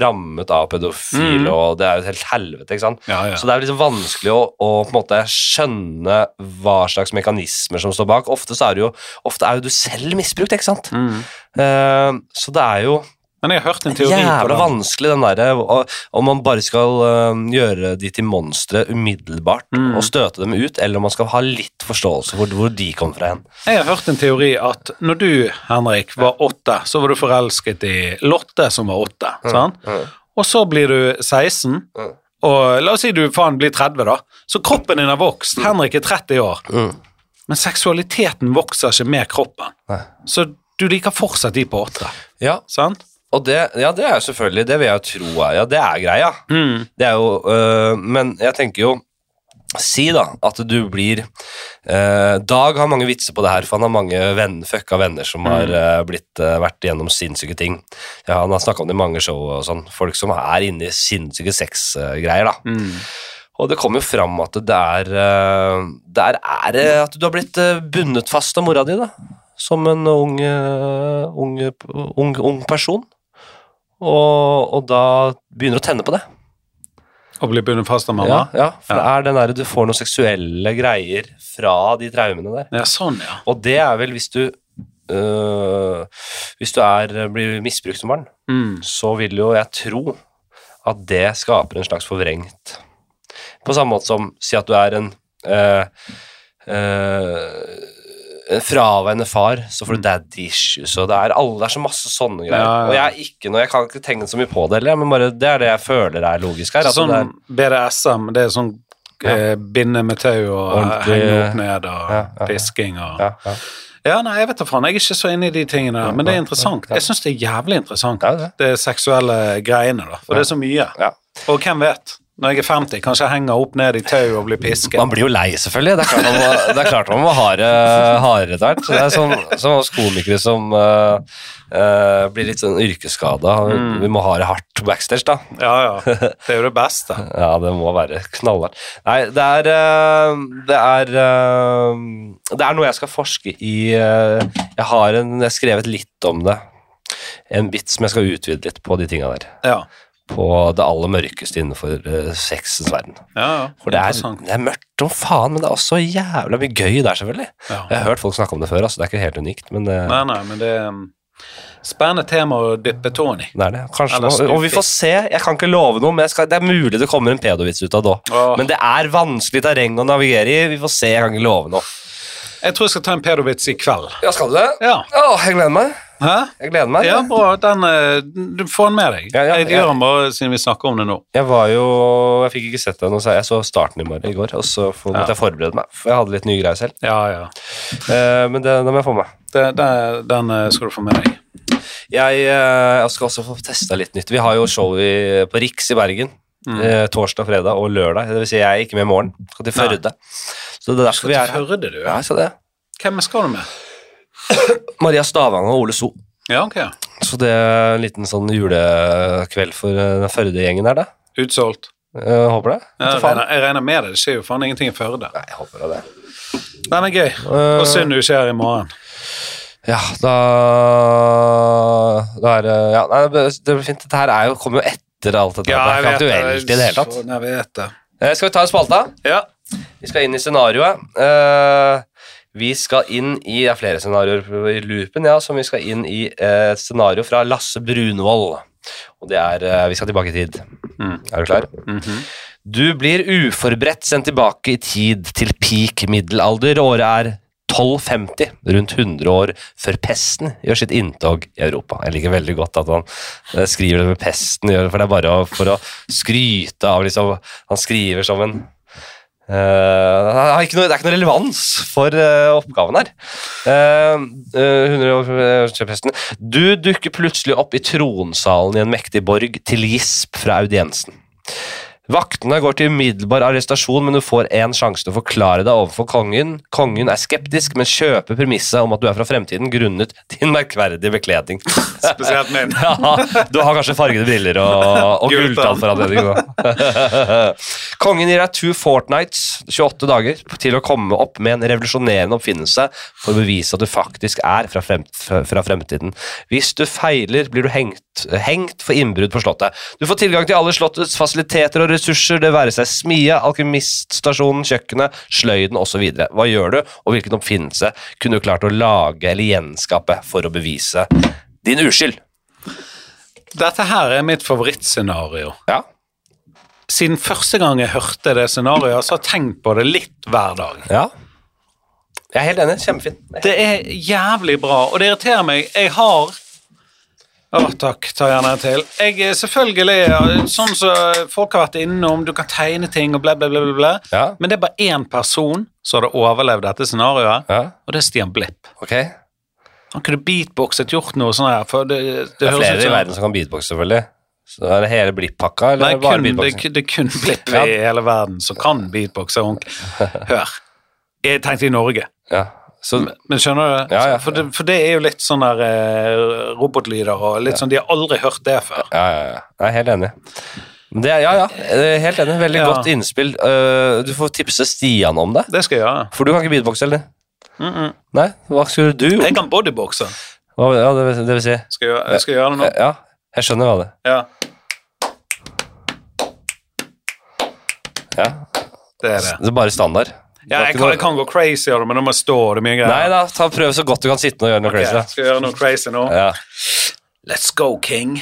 rammet av pedofile, og det er jo et helt helvete, ikke sant?
Mm. Ja, ja.
Så det er jo liksom vanskelig å, å på en måte skjønne hva slags mekanismer som står bak. Ofte så er det jo Ofte er jo du selv misbrukt, ikke sant? Eh, så det er jo
Men jeg har hørt en teori på
jævla
Mm. det.
vanskelig, den derre og- Om man bare skal øhm, gjøre de til monstre umiddelbart
Mm.
og støte dem ut, eller om man skal ha litt forståelse for hvor de kom fra hen.
Jeg har hørt en teori at når du, Henrik, var åtte, så var du forelsket i Lotte, som var åtte. sant? Og så blir du 16,
Mm.
og la oss si du faen blir 30, da. Så kroppen din har vokst. Henrik er 30 år. Men seksualiteten vokser ikke med kroppen.
Nei.
Så du liker fortsatt de på åtte.
Ja,
Sant?
og det, ja, det er jo selvfølgelig Det vil jeg jo tro er Ja, det er greia. Det er jo øh, Men jeg tenker jo Si da at du blir øh, Dag har mange vitser på det her, for han har mange venn, fucka venner som har øh, blitt, øh, vært gjennom sinnssyke ting. Ja, han har snakka om det i mange show og sånn. Folk som er inne i sinnssyke sexgreier, da. Og det kommer jo fram at det er, eh, det er, er det at du har blitt eh, bundet fast av mora di, da. Som en ung, eh, ung, ung, ung person. Og, og da begynner du å tenne på det.
Og blir bundet fast av
Ja,
mamma.
ja, for det er den der, du får noen seksuelle greier fra de traumene der.
Ja, sånn, ja.
Og det er vel hvis du øh, Hvis du er, blir misbrukt som barn,
Mm.
så vil jo jeg tro at det skaper en slags forvrengt På samme måte som si at du er en øh, øh, en fraværende far, så får du daddy issues, og det er, alle, det er så masse sånne greier.
Mm. Ja, ja.
Og jeg, er ikke, noe- jeg kan ikke tenke så mye på det heller, men bare, det er det jeg føler er logisk her. at
Sånn
det er,
BDSM, det er sånn eh, binde med tau og
Ordentlig- eh,
henge opp ned og
Ja, ja, ja.
pisking og
ja, ja.
Ja, nei, jeg vet da faen. Jeg er ikke så inne i de tingene der, men det er interessant. Jeg syns det er jævlig interessant,
Ja, det er.
det seksuelle greiene, da. For det er så mye.
Ja.
Og hvem vet? Når jeg er 50, kanskje jeg henger opp ned i tau og blir pisket.
Man blir jo lei, selvfølgelig. Det er klart man må, det er klart man må harde, hardere etter hvert. Det er sånn, sånn oss komikere som eh, eh, blir litt sånn yrkesskada. Vi må ha det hardt backstage, da.
Ja, ja. Det er jo det beste.
<laughs> Ja, det må være knallhardt. Nei, det er eh, Det er eh, Det er noe jeg skal forske i. eh, jeg har en, jeg har skrevet litt om det. En bit som jeg skal utvide litt på de tinga der.
Ja,
På det aller mørkeste innenfor eh, sexens verden.
ja. ja.
For det er,
Interessant.
det er mørkt som faen, men det er også jævla mye gøy der, selvfølgelig.
Ja.
Jeg har hørt folk snakke om det før, altså. Det er ikke helt unikt, men eh,
Nei, nei, men det er um, spennende tema å dyppe tåen i.
det er det. Kanskje
Eller
nå. Og vi
stupid.
får se. Jeg kan ikke love noe, men jeg skal, det er mulig det kommer en pedovits ut av det òg.
Åh.
Men det er vanskelig terreng å navigere i. Vi får se. Jeg kan ikke love noe.
Jeg tror jeg skal ta en pedovits i kveld.
Ja, skal du det?
Ja.
jeg gleder meg.
Hæ?
Jeg gleder meg.
Ja, bra. Den, eh, du får den med deg.
Ja, ja,
jeg
ja.
gjør den bare siden vi snakker om det nå.
Jeg var jo Jeg fikk ikke sett den, og så jeg så starten i, morgen, i går, og så for, måtte jeg forberede meg. For jeg hadde litt nye greier selv.
Ja, ja.
Eh, men det, det må jeg få med.
Det, det, den eh, skal du få med deg.
Jeg, eh, jeg skal også få testa litt nytt. Vi har jo show i, på Riks i Bergen. Eh, torsdag, fredag og lørdag. Det vil si, jeg er ikke med i morgen. Skal til
Mm. Nei.
Førde. Så det er derfor vi er her.
Hørte du?
Ja, jeg sa det.
Hvem skal du med?
Maria Stavang og Ole So.
Ja, ok.
Så det er en liten sånn julekveld for eh, den Førde-gjengen der, da.
Utsolgt.
Eh, håper det.
Ja,
Vet
jeg,
du faen.
regner, jeg regner med det. Det skjer jo faen ingenting i Førde.
Nei, jeg håper da det.
Den er gøy.
Eh,
Og synd du ikke er her i morgen.
Ja, da, da er det ja, nei, Det det blir fint. Dette her er jo, kommer jo etter alt dette. det er ikke aktuelt i det hele tatt.
Sånn, jeg vet det.
Eh, skal vi ta en spalte?
Ja.
Vi skal inn i scenarioet. Eh, vi skal inn i Det er flere scenarioer i loopen, ja, som vi skal inn i eh, et scenario fra Lasse Brunvoll. Og det er eh, Vi skal tilbake i tid.
Mm.
Er du klar? Du blir uforberedt sendt tilbake i tid til peak middelalder. Året er 1250, rundt 100 år før pesten gjør sitt inntog i Europa. Jeg liker veldig godt at han eh, skriver det med pesten, gjør det, for det er bare å- for å skryte av liksom, Han skriver som en eh, han har ikke noe, det er ikke noe relevans for eh, oppgaven her. Eh, eh, 100 år før før pesten. Du dukker plutselig opp i tronsalen i en mektig borg til gisp fra audiensen. Vaktene går til umiddelbar arrestasjon, men du får én sjanse til å forklare deg overfor kongen. Kongen er skeptisk, men kjøper premisset om at du er fra fremtiden grunnet din merkverdige bekledning.
Spesielt
<laughs>
min.
Ja, du har kanskje fargede briller og, og
Gult,
gulltann for anledningen. da. Kongen gir deg two fortnights, 28 dager, til å komme opp med en revolusjonerende oppfinnelse for å bevise at du faktisk er fra, frem, fra fremtiden. Hvis du feiler, blir du hengt, hengt for innbrudd på slottet. Du får tilgang til alle slottets fasiliteter og ressurser, det være seg smie, alkymiststasjonen, kjøkkenet, sløyden osv. Hva gjør du, og hvilken oppfinnelse kunne du klart å lage eller gjenskape for å bevise din uskyld?
Dette her er mitt favorittscenario.
Ja.
Siden første gang jeg hørte det scenarioet, så har jeg tenkt på det litt hver dag.
Ja. Jeg er helt enig. Kjempefin.
Det er jævlig bra, og det irriterer meg. Jeg har Å, takk. Ta gjerne en til. Jeg er selvfølgelig ja, sånn som folk har vært innom, du kan tegne ting og bla, bla, bla. bla, bla.
Ja.
Men det er bare én person som hadde overlevd dette scenarioet,
Ja,
og det er Stian Blipp.
ok. Det
Han kunne beatboxet, gjort noe sånn her, for det, det,
er
høres ut
flere i
som
verden som kan beatboxe, selvfølgelig. Så er det hele blipp-pakka, eller
Nei,
er det bare
kun, det,
beatboxing?
er- det er kun Blipp i hele verden som kan beatboxe
<laughs>
ordentlig. Hør. Jeg tenkte i Norge.
Ja. Så,
Men skjønner du?
Ja, ja.
For, det, for det er jo litt sånn der eh, robotlyder og litt sånn De har aldri hørt det før.
ja, ja, ja. Jeg er helt enig. Men Det, er- ja, ja. eh, Helt enig. Veldig
Ja.
godt innspill. Eh, Du får tipse Stian om det.
Det skal jeg gjøre. Mm,
For du kan ikke beatboxe, eller? Nei? Hva skulle du gjort?
Jeg kan bodyboxe.
Hva- Ja, det, vil, det vil si
Skal jeg, gjøre- jeg skal gjøre det nå.
eh, Ja, jeg skjønner hva det
Ja,
er. Ja.
det er det.
Det er bare standard.
Ja, jeg kan, jeg kan gå crazy av det, men nå må jeg stå. Det er mye
Nei
greier.
da, ta, prøv så godt du kan sitte og gjøre noe
Ok,
crazy. da.
skal jeg gjøre noe crazy nå?
Ja.
Let's go, king.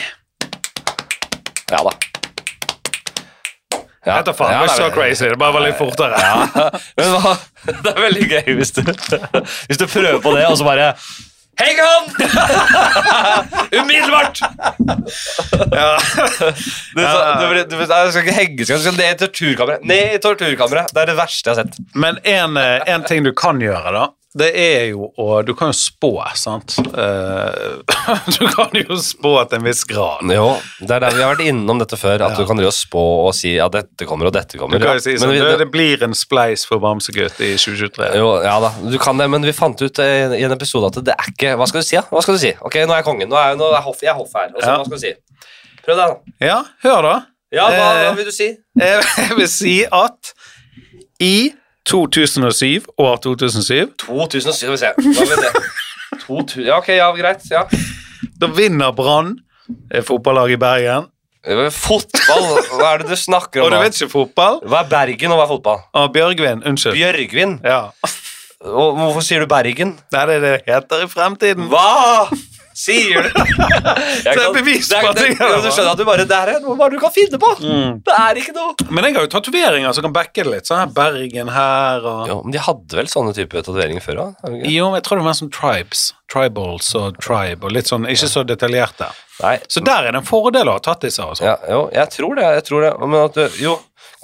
ja da. Ja.
Etter faen,
Ja,
det var
det er
ikke så
vel-
crazy. Det bare var litt fortere. <laughs>
Men hva? <laughs> Det er veldig gøy hvis du, hvis du prøver på det, og så bare Heng han! Umiddelbart!
Ja.
Du, så, du, blir- du, nei, du skal ikke henge, du skal, du skal ned i torturkammeret. Ned i torturkammeret. Det er det verste jeg har sett.
Men en, eh, en ting du kan gjøre, da, det er jo å Du kan jo spå, sant? Eh, <laughs> du kan jo spå til en viss grad.
Jo, det er der vi har vært innom dette før, at du kan drive og spå og si at dette kommer og dette kommer.
Du kan jo si
ja.
sånn,
Men vi-
det, det blir en spleis for Bamsegutt i 2023.
Jo, ja da, du kan det, men vi fant ut eh, i en episode at det er ikke Hva skal du si, da? Hva skal du si? Ok, nå er jeg kongen. Nå er jeg, nå er jeg, hoff, jeg er hoff her. Og så,
Ja.
Hva skal du si? Prøv det, da.
Ja, hør da.
Ja, hva,
Eh.
hva vil du si?
Eh, Jeg vil si at i 2007, år 2007,
2007, skal vi se. Hva vil det? 2000, ja, ok, ja, greit. Ja.
da vinner Brann eh, fotballaget i Bergen.
Eh, Fotball, hva er det du snakker
Og
om?
du
da?
vet ikke fotball?
Hva er Bergen, og hva er fotball?
Ah, Bjørgvin, unnskyld.
Bjørgvin?
Ja.
Og hvorfor sier du Bergen?
Nei, det er det det heter i fremtiden.
Hva <laughs> sier du? Det
er bevis på at
det, Mm.
jeg gjør det.
Du skjønner at du bare Det her er noe bare du kan finne på. Det er ikke noe.
Men jeg har jo tatoveringer som kan backe det litt. Sånn her Bergen her og
Jo, men de hadde vel sånne type tatoveringer før òg?
Jo, men jeg tror det var som tribes. Tribals og tribe og litt sånn ikke så detaljerte.
Nei.
Så der er det en fordel å ha tattiser og sånn.
Ja, jo, jeg tror det. jeg tror det. Men at du, jo,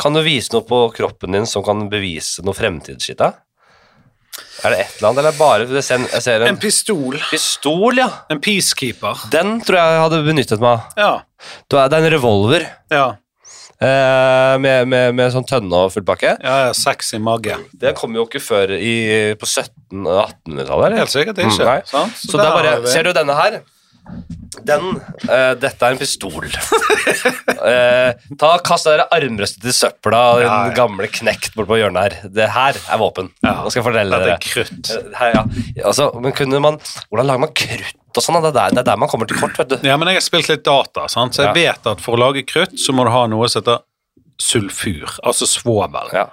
kan du vise noe på kroppen din som kan bevise noe fremtidsskitt? da? Er det et eller annet, eller er det bare jeg ser, jeg ser en
En pistol.
pistol, ja.
En peacekeeper.
Den tror jeg jeg hadde benyttet meg av.
Ja.
Du er- Det er en revolver
Ja.
eh, med, med, med sånn tønne og full pakke.
ja, ja sexy mage.
Det kom jo ikke før i, på 1700-1800-tallet, eller?
Helt sikkert ikke.
Mm, nei.
sant?
Så, det er bare,
har vi-
ser du denne her? Den, eh, dette er en
<laughs>
pistol. Eh, ta, Kast dere armrøstet i søpla, den
Ja, ja.
gamle knekt borte på hjørnet her. Det her er våpen. Nå skal jeg fortelle
Dette
dere.
er krutt.
Eh, Her, ja. Altså, men kunne man, hvordan lager man krutt og sånn? da? Det, er der- det er der man kommer til kort, vet du.
Ja, men jeg har spilt litt data, sant? så jeg vet at for å lage krutt, så må du ha noe som heter sulfur, altså svovel.
Ja.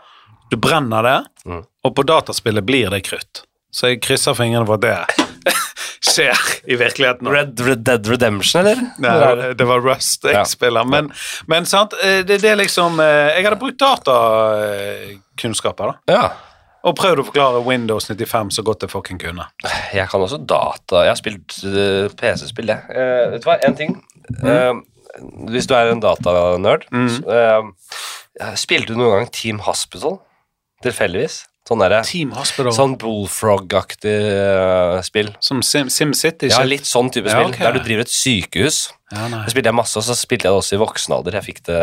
Du brenner det,
Mm.
og på dataspillet blir det <laughs> krutt. Så jeg krysser fingrene for at det skjer i virkeligheten. nå.
Red, Red Dead Redemption, eller? Hvor er det?
Nei, det var Rust jeg
Ja.
spiller. Men, men sant, eh, det, det er liksom eh, Jeg hadde brukt datakunnskaper, da.
Ja.
Og prøvd å forklare Windows 95 så godt jeg fucking kunne.
Jeg kan også data. Jeg har spilt øh, PC-spill, jeg. Eh, vet du hva, én ting. Eh, hvis du er en datanerd så, eh, Spilte du noen gang Team Hospital? Tilfeldigvis? Sånn derre
Team Hospital.
Sånn bullfrog-aktig eh, spill.
Som Sim- SimCity.
Ja,
shit.
litt sånn type
Ja,
spill.
ok.
Der du driver et sykehus.
Ja, nei.
Det spilte jeg masse, og så spilte jeg det også i voksen alder. Jeg fikk det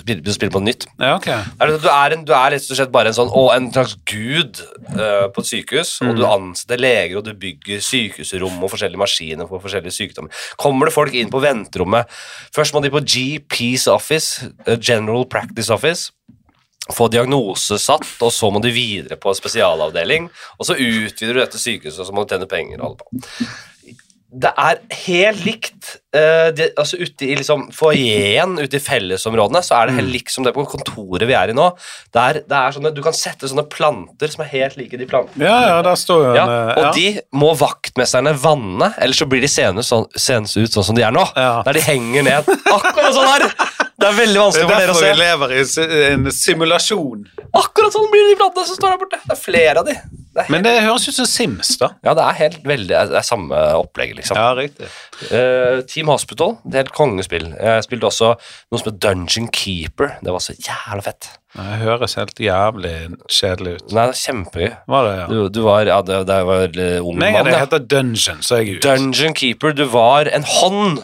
spil- spille på nytt.
Ja, ok.
Er det, du, er en, du er rett og slett bare en sånn å, en slags gud eh, på et sykehus, og du ansetter leger, og du bygger sykehusrom og forskjellige maskiner for forskjellige sykdommer. Kommer det folk inn på venterommet Først må de på GPs office, eh, General Practice Office. Få diagnose satt, og så må du videre på en spesialavdeling. Og så utvider du dette sykehuset, og så må du tjene penger og holde på det er helt likt eh, det, altså ute i liksom foajeen, ute i fellesområdene, så er det
Mm.
helt likt som det på kontoret vi er i nå. Det er, det er sånne, du kan sette sånne planter som er helt like de plantene.
ja, ja, der står jo en
Ja,
eh,
og
ja.
de må vaktmesterne vanne, ellers så blir de seende sånn, seende ut sånn som de er nå.
Ja.
Der de henger ned akkurat sånn her. Det er veldig
Det
vanskelig
er
for dere å
derfor
se.
vi lever i si- en simulasjon.
Akkurat sånn blir de plantene som står der borte. Det er flere av de. Det er,
Men det høres ut som Sims, da.
ja, det er helt veldig, det er samme opplegget, liksom.
Ja, riktig.
Eh, Team Hospital, det er et kongespill. Jeg spilte også noe som het Dungeon Keeper. Det var så jævla fett.
Det høres helt jævlig kjedelig ut.
Nei, det er kjempegøy.
Var det, ja.
Du, du var ja, det, det var eh, ung
Nei,
mann,
det
ja.
heter Dungeon, så jeg er ute.
Dungeon Keeper, du var en hånd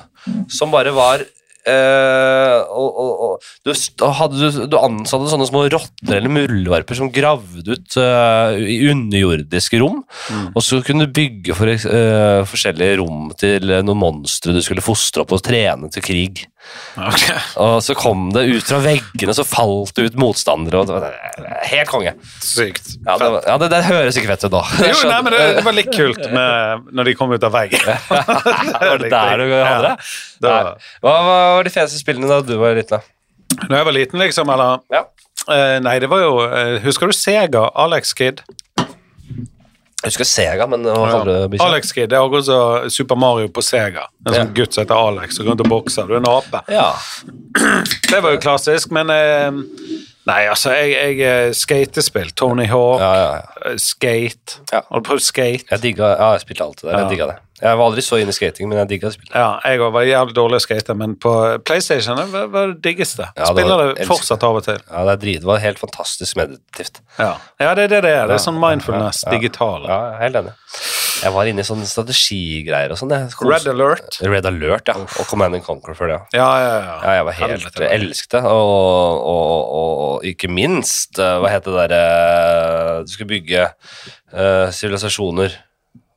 som bare var eh, og, og, og, du, st- hadde, du, du ansatte sånne små rotter eller muldvarper som gravde ut eh, i underjordiske rom.
Mm.
Og så kunne du bygge for, eks- eh, forskjellige rom til eh, noen monstre du skulle fostre opp og trene til krig.
Ok. <laughs>
Og så kom det ut fra veggene, så falt det ut motstandere. Og det var helt konge.
Sykt.
Ja, det, var- ja, det, det høres ikke fett ut nå.
Jo, nei,
<laughs>
men det, det var litt kult med, når de kom ut av veggen. <laughs>
var det der du hadde det?
det var-
Nei. Hva, hva var de feteste spillene da du var liten? da?
Når jeg var liten, liksom, eller
Ja.
eh, Nei, det var jo eh, Husker du Sega? Alex Kid?
Jeg husker Sega, men hva
Ja.
kaller du bikkja?
Alex Kid, Det er akkurat som Super Mario på Sega. En sånn gutt som heter Alex og går rundt og bokser. Du er en ape.
Ja.
Det var jo klassisk, men eh, Nei, altså, jeg, jeg eh, skatespill. Tony Hawk,
Ja, ja, ja.
eh, skate.
Ja.
Har du prøvd skate?
Jeg digga, ja, jeg spilte alt det der.
Ja.
Jeg digga det. Jeg var aldri så inne i skating, men jeg digga det spillet.
Ja, jeg var jævlig dårlig å skate, men på PlayStation det var var det diggeste.
Ja, det var-
Spiller det
elsker.
fortsatt av og til.
Ja, det, er drit, det var helt fantastisk meditativt.
Ja, ja det er det det er. Det er sånn mindfulness,
Ja, ja.
digital.
Ja, jeg er helt enig. Jeg var inne i sånne strategigreier og sånn. jeg.
Red alert.
Red Alert, ja. Og Command and Conquer før det. ja.
Ja, ja, ja.
Ja, jeg var helt
Helvete.
elsket det, og, og, og, og ikke minst eh, Hva het det derre eh, Du skulle bygge eh, sivilisasjoner,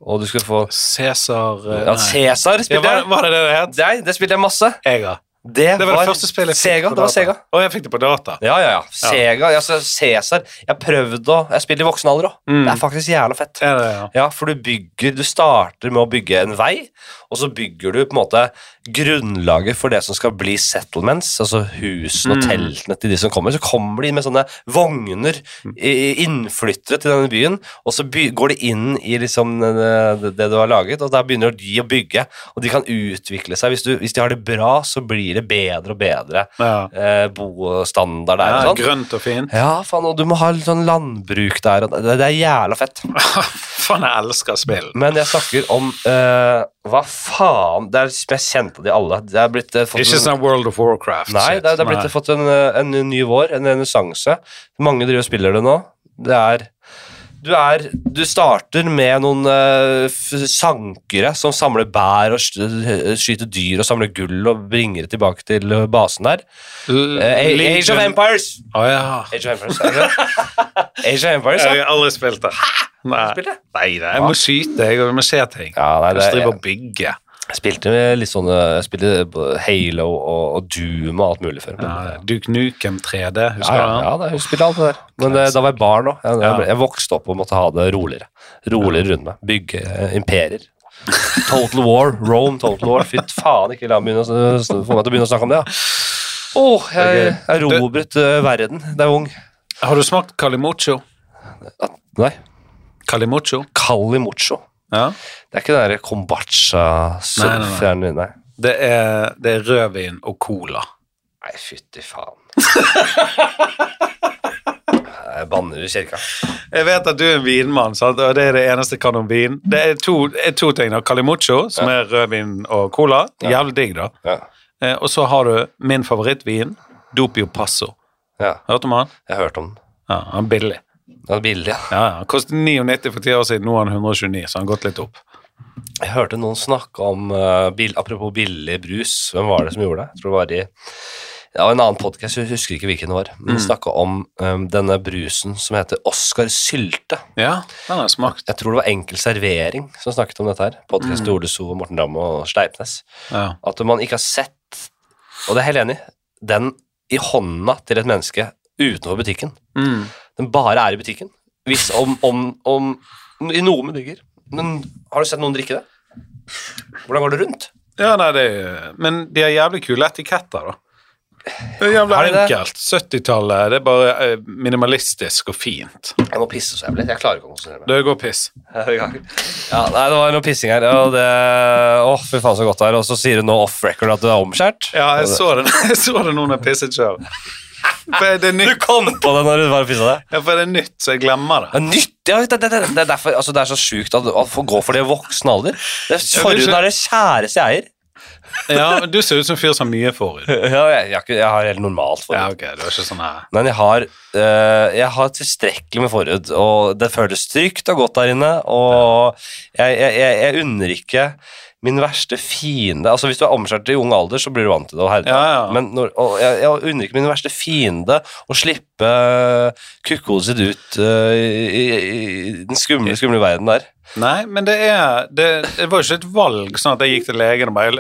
og du skulle få
Cæsar eh,
Ja,
nei.
Cæsar
ja,
spilte
var,
jeg!
var det det det het?
Nei, det spilte jeg masse.
Jeg, ja.
Det,
Det var det første spillet jeg fikk
Sega.
på
Det var
data.
Sega.
Å, jeg fikk det på data.
Ja, ja, ja. Sega, altså Cæsar. Jeg prøvde å Jeg spilte i voksen alder òg.
Mm.
Det er faktisk jævla fett.
Er det, ja.
Ja, for du bygger Du starter med å bygge en vei, og så bygger du på en måte grunnlaget for det som skal bli settlements, altså husene og teltene til de som kommer. Så kommer de med sånne vogner, i- innflyttere til denne byen, og så by går de inn i liksom eh, det det du har laget, og der begynner de å bygge, og de kan utvikle seg. Hvis, du, hvis de har det bra, så blir det bedre og bedre
Ja.
eh, bostandard der
ja
og sånn.
grønt og <laughs> fint.
Ja, faen, og du må ha litt sånn landbruk der, og det, det er jævla fett.
Faen, jeg elsker spill.
Men jeg snakker om eh, Hva faen Det er som jeg kjente de alle. Det er blitt eh, fått
Ikke
en,
sånn World of Warcraft.
Nei,
shit.
det er, det er blitt
Nei.
fått en, eh, en ny vår, en renessanse. Mange driver og spiller det nå. Det er du, er, du starter med noen eh, f- sankere som samler bær og sk- skyter dyr og samler gull og bringer det tilbake til eh, basen der. Eh,
L-
A- Age
Legion.
of Empires!
Å ja.
Age of Empires, er det det?
<laughs>
Age of Empires,
Jeg
ja.
har aldri spilt det. Nei.
Spilt det?
Nei, nei, jeg må skyte, jeg, og jeg må se ting.
ja nei,
Jeg
det,
driver og bygger.
Jeg spilte med litt sånne Jeg spilte både Halo og, og Doom og alt mulig før. Men,
Ja, Duke Nukem 3D,
ja,
husker du
ja,
den?
ja, da, jeg spilte alt det der. Men det, da var jeg barn òg. Jeg, jeg, jeg vokste opp og måtte ha det roligere. Roligere rundt meg. Bygge eh, imperier. Total War, Rome, Total War. Fy faen, ikke la meg begynne å, s- få meg til å begynne å snakke om det. Ja. Åh, jeg
Ok.
erobret eh, verden da jeg var ung.
Har du smakt Calimocho?
Nei.
Calimocho?
Calimocho.
Ja.
Det er ikke den der kombacha-surferen
Nei, nei, nei.
din, nei.
Det er, det er rødvin og cola.
Nei, fytti faen. Jeg banner i kirka.
Jeg vet at du er en vinmann, sant? og det er det eneste jeg kan om vin. Det er to, er to ting. da. Calimocho, som er rødvin og cola. Jævlig digg, da.
Ja.
Eh, og så har du min favorittvin, Dopio Passo.
ja,
Hørte du om han?
jeg hørte om den.
Ja, han er billig.
Den er billig, ja.
Ja, ja. Han kostet 99 for ti år siden, nå er han 129, så han har gått litt opp.
Jeg hørte noen snakke om eh, bill- Apropos billig brus, hvem var det som gjorde det? Jeg tror det var i ja, en annen podkast, jeg husker ikke hvilken det var. Men de snakka om eh, denne brusen som heter Oscar Sylte.
Ja, den har jeg smakt.
Jeg tror det var Enkel Servering som snakket om dette her. Podkasten til Ole So, Morten Ramm og Sleipnes.
Ja.
At man ikke har sett, og det er jeg helt enig i, den i hånda til et menneske utenfor butikken.
Mm.
Den bare er i butikken. Hvis om, om, om I noen butikker. Men har du sett noen drikke det? Hvordan går det rundt?
ja, nei, det er, Men de har jævlig kule etiketter, da. Det er jævlig
Har de det?
enkelt. 70-tallet, det er bare eh, minimalistisk og fint.
Jeg må pisse så jævlig. Jeg klarer ikke å konsentrere meg.
Det går piss.
Ja, nei, Det var noe pissing her. og det... Åh, fy faen så godt det er. Og så sier du nå off record at du er omskjært.
Ja, jeg så det, jeg så det nå når jeg pisset sjøl. For det er
Du
nytt,
kom på det når du var og pissa deg.
ja, for det er nytt, så jeg glemmer
Det
det.
er nytt! Ja, det, det, det, det, er derfor, altså, det er så sjukt at å gå for det i voksen alder. Det er forhuden er det kjæreste jeg eier.
Ja, men Du ser ut som en fyr som har mye <laughs> forhud.
Ja, jeg, jeg, har ikke- jeg har helt normalt forhud.
Ja, ok, du er ikke sånn her.
Men jeg har, eh, jeg har tilstrekkelig med forhud, og det føles trygt og godt der inne. Og jeg, jeg, jeg, jeg unner ikke min verste fiende Altså Hvis du er omskjært i ung alder, så blir du vant til det. Og herre.
Ja, ja.
Men når, og jeg, jeg unner ikke min verste fiende å slippe eh, kukkhodet sitt ut eh, i, i, i den skumle, skumle verden der.
Nei, men det er det, det var jo ikke et valg sånn at jeg gikk til legen og bare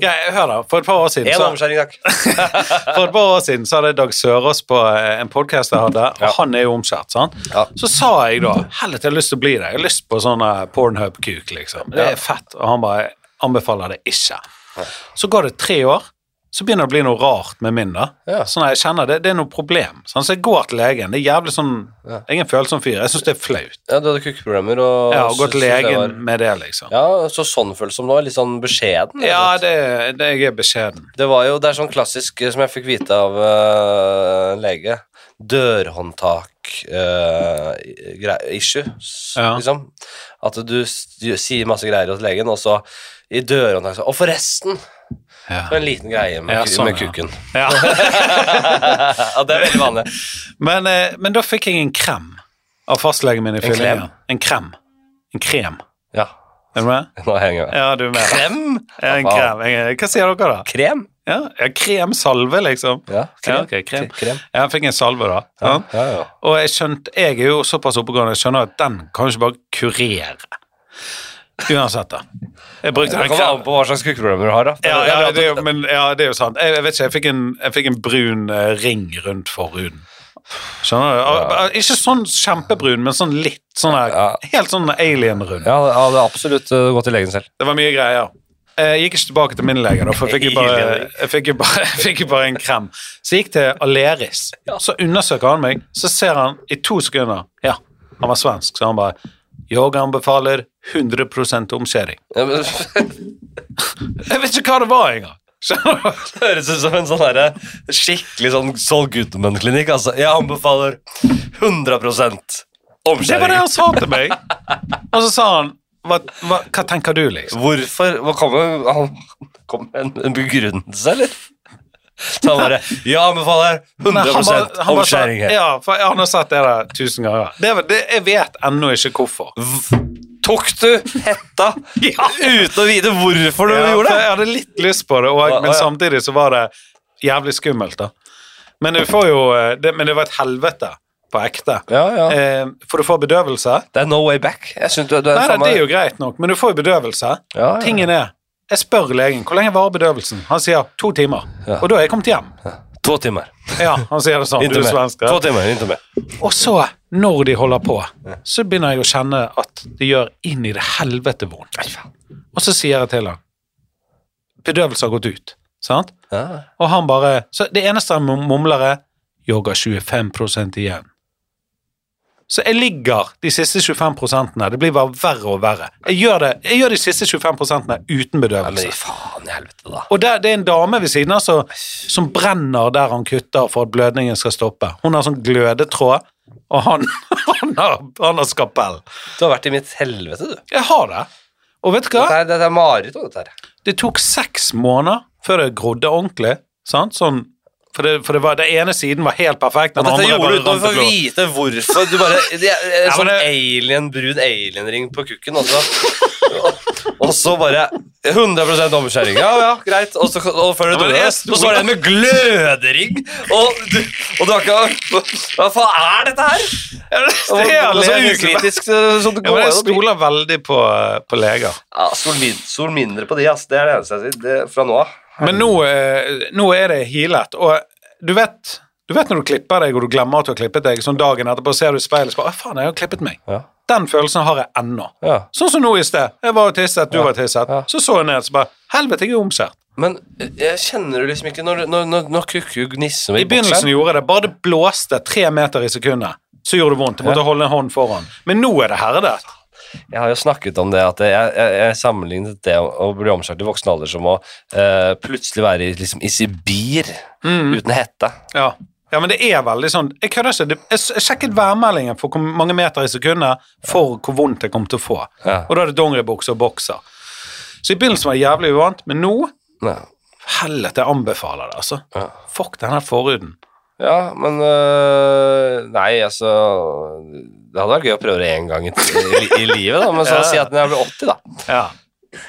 ja, Hør, da. For et par år siden
Én
så,
omskjæring, takk.
for et par år siden så hadde jeg Dag Sørås på eh, en podkast jeg hadde, og
Ja.
han er jo omskjært, sant?
Ja.
Så sa jeg da Helvete, jeg har lyst til å bli det. Jeg har lyst på sånn eh, pornhub-kuk, liksom. Det
Ja.
er fett. Og han bare anbefaler det ikke. Så går det tre år. Så begynner det å bli noe rart med min. da.
Ja.
Sånn at jeg kjenner det, det er noe problem. sant? Så jeg går til legen. Det er jævlig sånn,
Ja.
Jeg er en følsom fyr. Jeg syns det er flaut.
Ja, du hadde kukkeproblemer og
Jeg har
syntes
gått til
det
legen
var-
med det, liksom.
Ja, så sånn føles som nå. Litt sånn beskjeden.
Ja, det, det jeg er beskjeden.
Det var jo, det er sånn klassisk eh, som jeg fikk vite av eh, en lege. eh, Dørhåndtak-issue,
Ja.
liksom. At du, s- du sier masse greier til legen, og så i dørhåndtak så, Og forresten!
Ja.
Så en liten greie med,
Ja,
ku-
sånn,
med
ja.
kuken. <laughs> Ja, det er veldig vanlig.
Men, eh, men da fikk jeg en krem av fastlegen min i
En
fyllingen. En krem. En krem.
Ja,
Er du med?
nå henger jeg med.
Ja, du er med.
Krem?
Ja, En
Ja, faen.
krem. Jeg- eh, Hva sier dere da?
Krem?
Ja, ja kremsalve, liksom.
Ja,
Ja,
krem.
ok, krem.
Krem.
Ja, jeg fikk en salve, da.
Ja,
Ja.
ja, ja.
Og jeg skjønte, jeg er jo såpass oppegående, jeg skjønner at den kan jo ikke bare kurere. Uansett, da. Jeg
Det
brukte den
kommer an
kremen.
på hva slags kukkeproblemer du har, da.
Ja,
Det er bra at
ja, det er
du-
jo, men, ja, det er jo sant. Jeg, jeg vet ikke, jeg fikk en, jeg fikk en brun eh, ring rundt forhuden. Skjønner du? Ah, Ikke sånn kjempebrun, men sånn litt. Sånn her,
Ja.
Helt sånn alien-rund.
ja, ja, det er absolutt eh, gå til legen selv.
Det var mye greier. Eh, Jeg gikk ikke tilbake til min lege, da, for jeg fikk jo bare,
Alien-ring.
jeg fikk jo bare, <laughs> jeg fikk jo bare en krem. Så jeg gikk til Aleris. Så undersøker han meg, så ser han i to sekunder Ja, han var svensk, så han bare Yoga anbefaler 100 omskjæring.
Ja, men...
Jeg vet ikke hva det var engang! Skjønner du?
Det høres ut som en sånn herre skikkelig sånn Saul Goodman-klinikk. Altså, jeg anbefaler 100
Det var det altså.
omskjæring.
han sa til meg. Og så sa han hva, hva, hva tenker du, liksom?
Hvorfor hva kommer han kom med en, en begrunnelse, eller? Så han bare Jeg anbefaler
Nei, han
100
bare- han bare sa-
omskjæring her.
Ja, for han har sett det der tusen ganger. Det, var- det, jeg vet ennå ikke hvorfor.
Tok du hetta
<laughs> Ja.
uten å vite hvorfor du
Ja, for
gjorde det?
jeg hadde litt lyst på det, og,
Å,
men
å, ja.
samtidig så var det jævlig skummelt, da. Men, du får jo, eh, det, men det var et helvete på ekte.
Ja, ja.
Eh, For du får bedøvelse.
Det er no way back. Jeg synes du, du er
Nei, nei,
faen
det er
meg-
jo greit nok, men du får jo bedøvelse.
Ja, ja.
Tingen er jeg spør legen hvor lenge varer bedøvelsen. Han sier to timer.
Ja.
Og da er jeg kommet hjem.
To timer.
Ja, han sier det sånn. Du
Inntil
er
mer.
svensk. ja.
To timer, inntil mer.
Og så, når de holder på, så begynner jeg å kjenne at det gjør inn i det helvete vondt. Og så sier jeg til han Bedøvelse har gått ut. Sant?
Ja.
Og han bare Så det eneste han mum- mumler, er Yoga 25 igjen. Så jeg ligger de siste 25 Det blir bare verre og verre. Jeg gjør, det, jeg gjør de siste 25
Men
uten bedøvelse.
i faen i helvete, da.
Og der, det er en dame ved siden av så- som brenner der han kutter for at blødningen skal stoppe. Hun har sånn glødetråd, og han, <laughs> han, har, han har skapell.
Du har vært i mitt helvete, du.
Jeg har det. Og vet du hva?
Dette er, dette er mareritt, dette her.
Det tok seks måneder før det grodde ordentlig. Sant? Sånn, for det, for det, var, den ene siden var helt perfekt. Den
Og dette
andre
gjorde du
bare
uten å
rant og
få
glo.
vite hvorfor. Du bare det er, en
Ja, men
Sånn
det-
alien, brun alien-ring på kukken, og så Og så bare 100 omskjæring. Ja, ja, greit. Og så og før du
Ja, men
dør
det er
det,
stor-
og så er det en med glødering! Og du, og du har ikke Hva faen er dette her? Og,
Det er
og så
allerede-
ukritisk eh, som det
Ja,
går
men
an
jeg
å bli.
stoler veldig på, på leger.
Ja, sol, min, sol mindre på de, ass. Det er det eneste jeg sier. Det, fra nå av.
Men nå, eh, nå er det healet, og du vet, du vet når du klipper deg, og du glemmer at du har klippet deg, sånn dagen etterpå ser du i speilet og spør, «Å, faen, jeg har klippet meg.
Ja.
Den følelsen har jeg ennå.
Ja.
Sånn som nå i sted. Jeg var og tisset, du var og tisset.
Ja.
Så så jeg ned, så bare, helvete, jeg er omskjært.
Men eh, jeg kjenner du liksom ikke når, når, når, når kukku gnisser
I
med
begynnelsen gjorde jeg det, bare det blåste tre meter i sekundet, så gjorde det vondt. Jeg måtte holde en hånd foran. Men nå er det herdet.
Jeg har jo snakket om det at jeg, jeg, jeg sammenlignet det å å bli omskjært i voksen alder som å eh, plutselig være i, liksom, i Sibir
Mm.
uten hette.
Ja. ja, men det er veldig sånn Jeg kødder ikke. det- Jeg s- jeg sjekket værmeldingen for hvor mange meter i sekundet for hvor vondt jeg kom til å få.
Ja.
Og da er det dongeribukse og bokser. Så i begynnelsen var det jævlig uvant, men nå
Ja,
Helvete, jeg anbefaler det, altså.
Ja.
Fuck den her forhuden.
ja men eh, Nei, altså Det hadde vært gøy å prøve det én gang i, i, i livet, da, men så
<laughs> Ja.
si at når jeg blir 80, da.
Ja.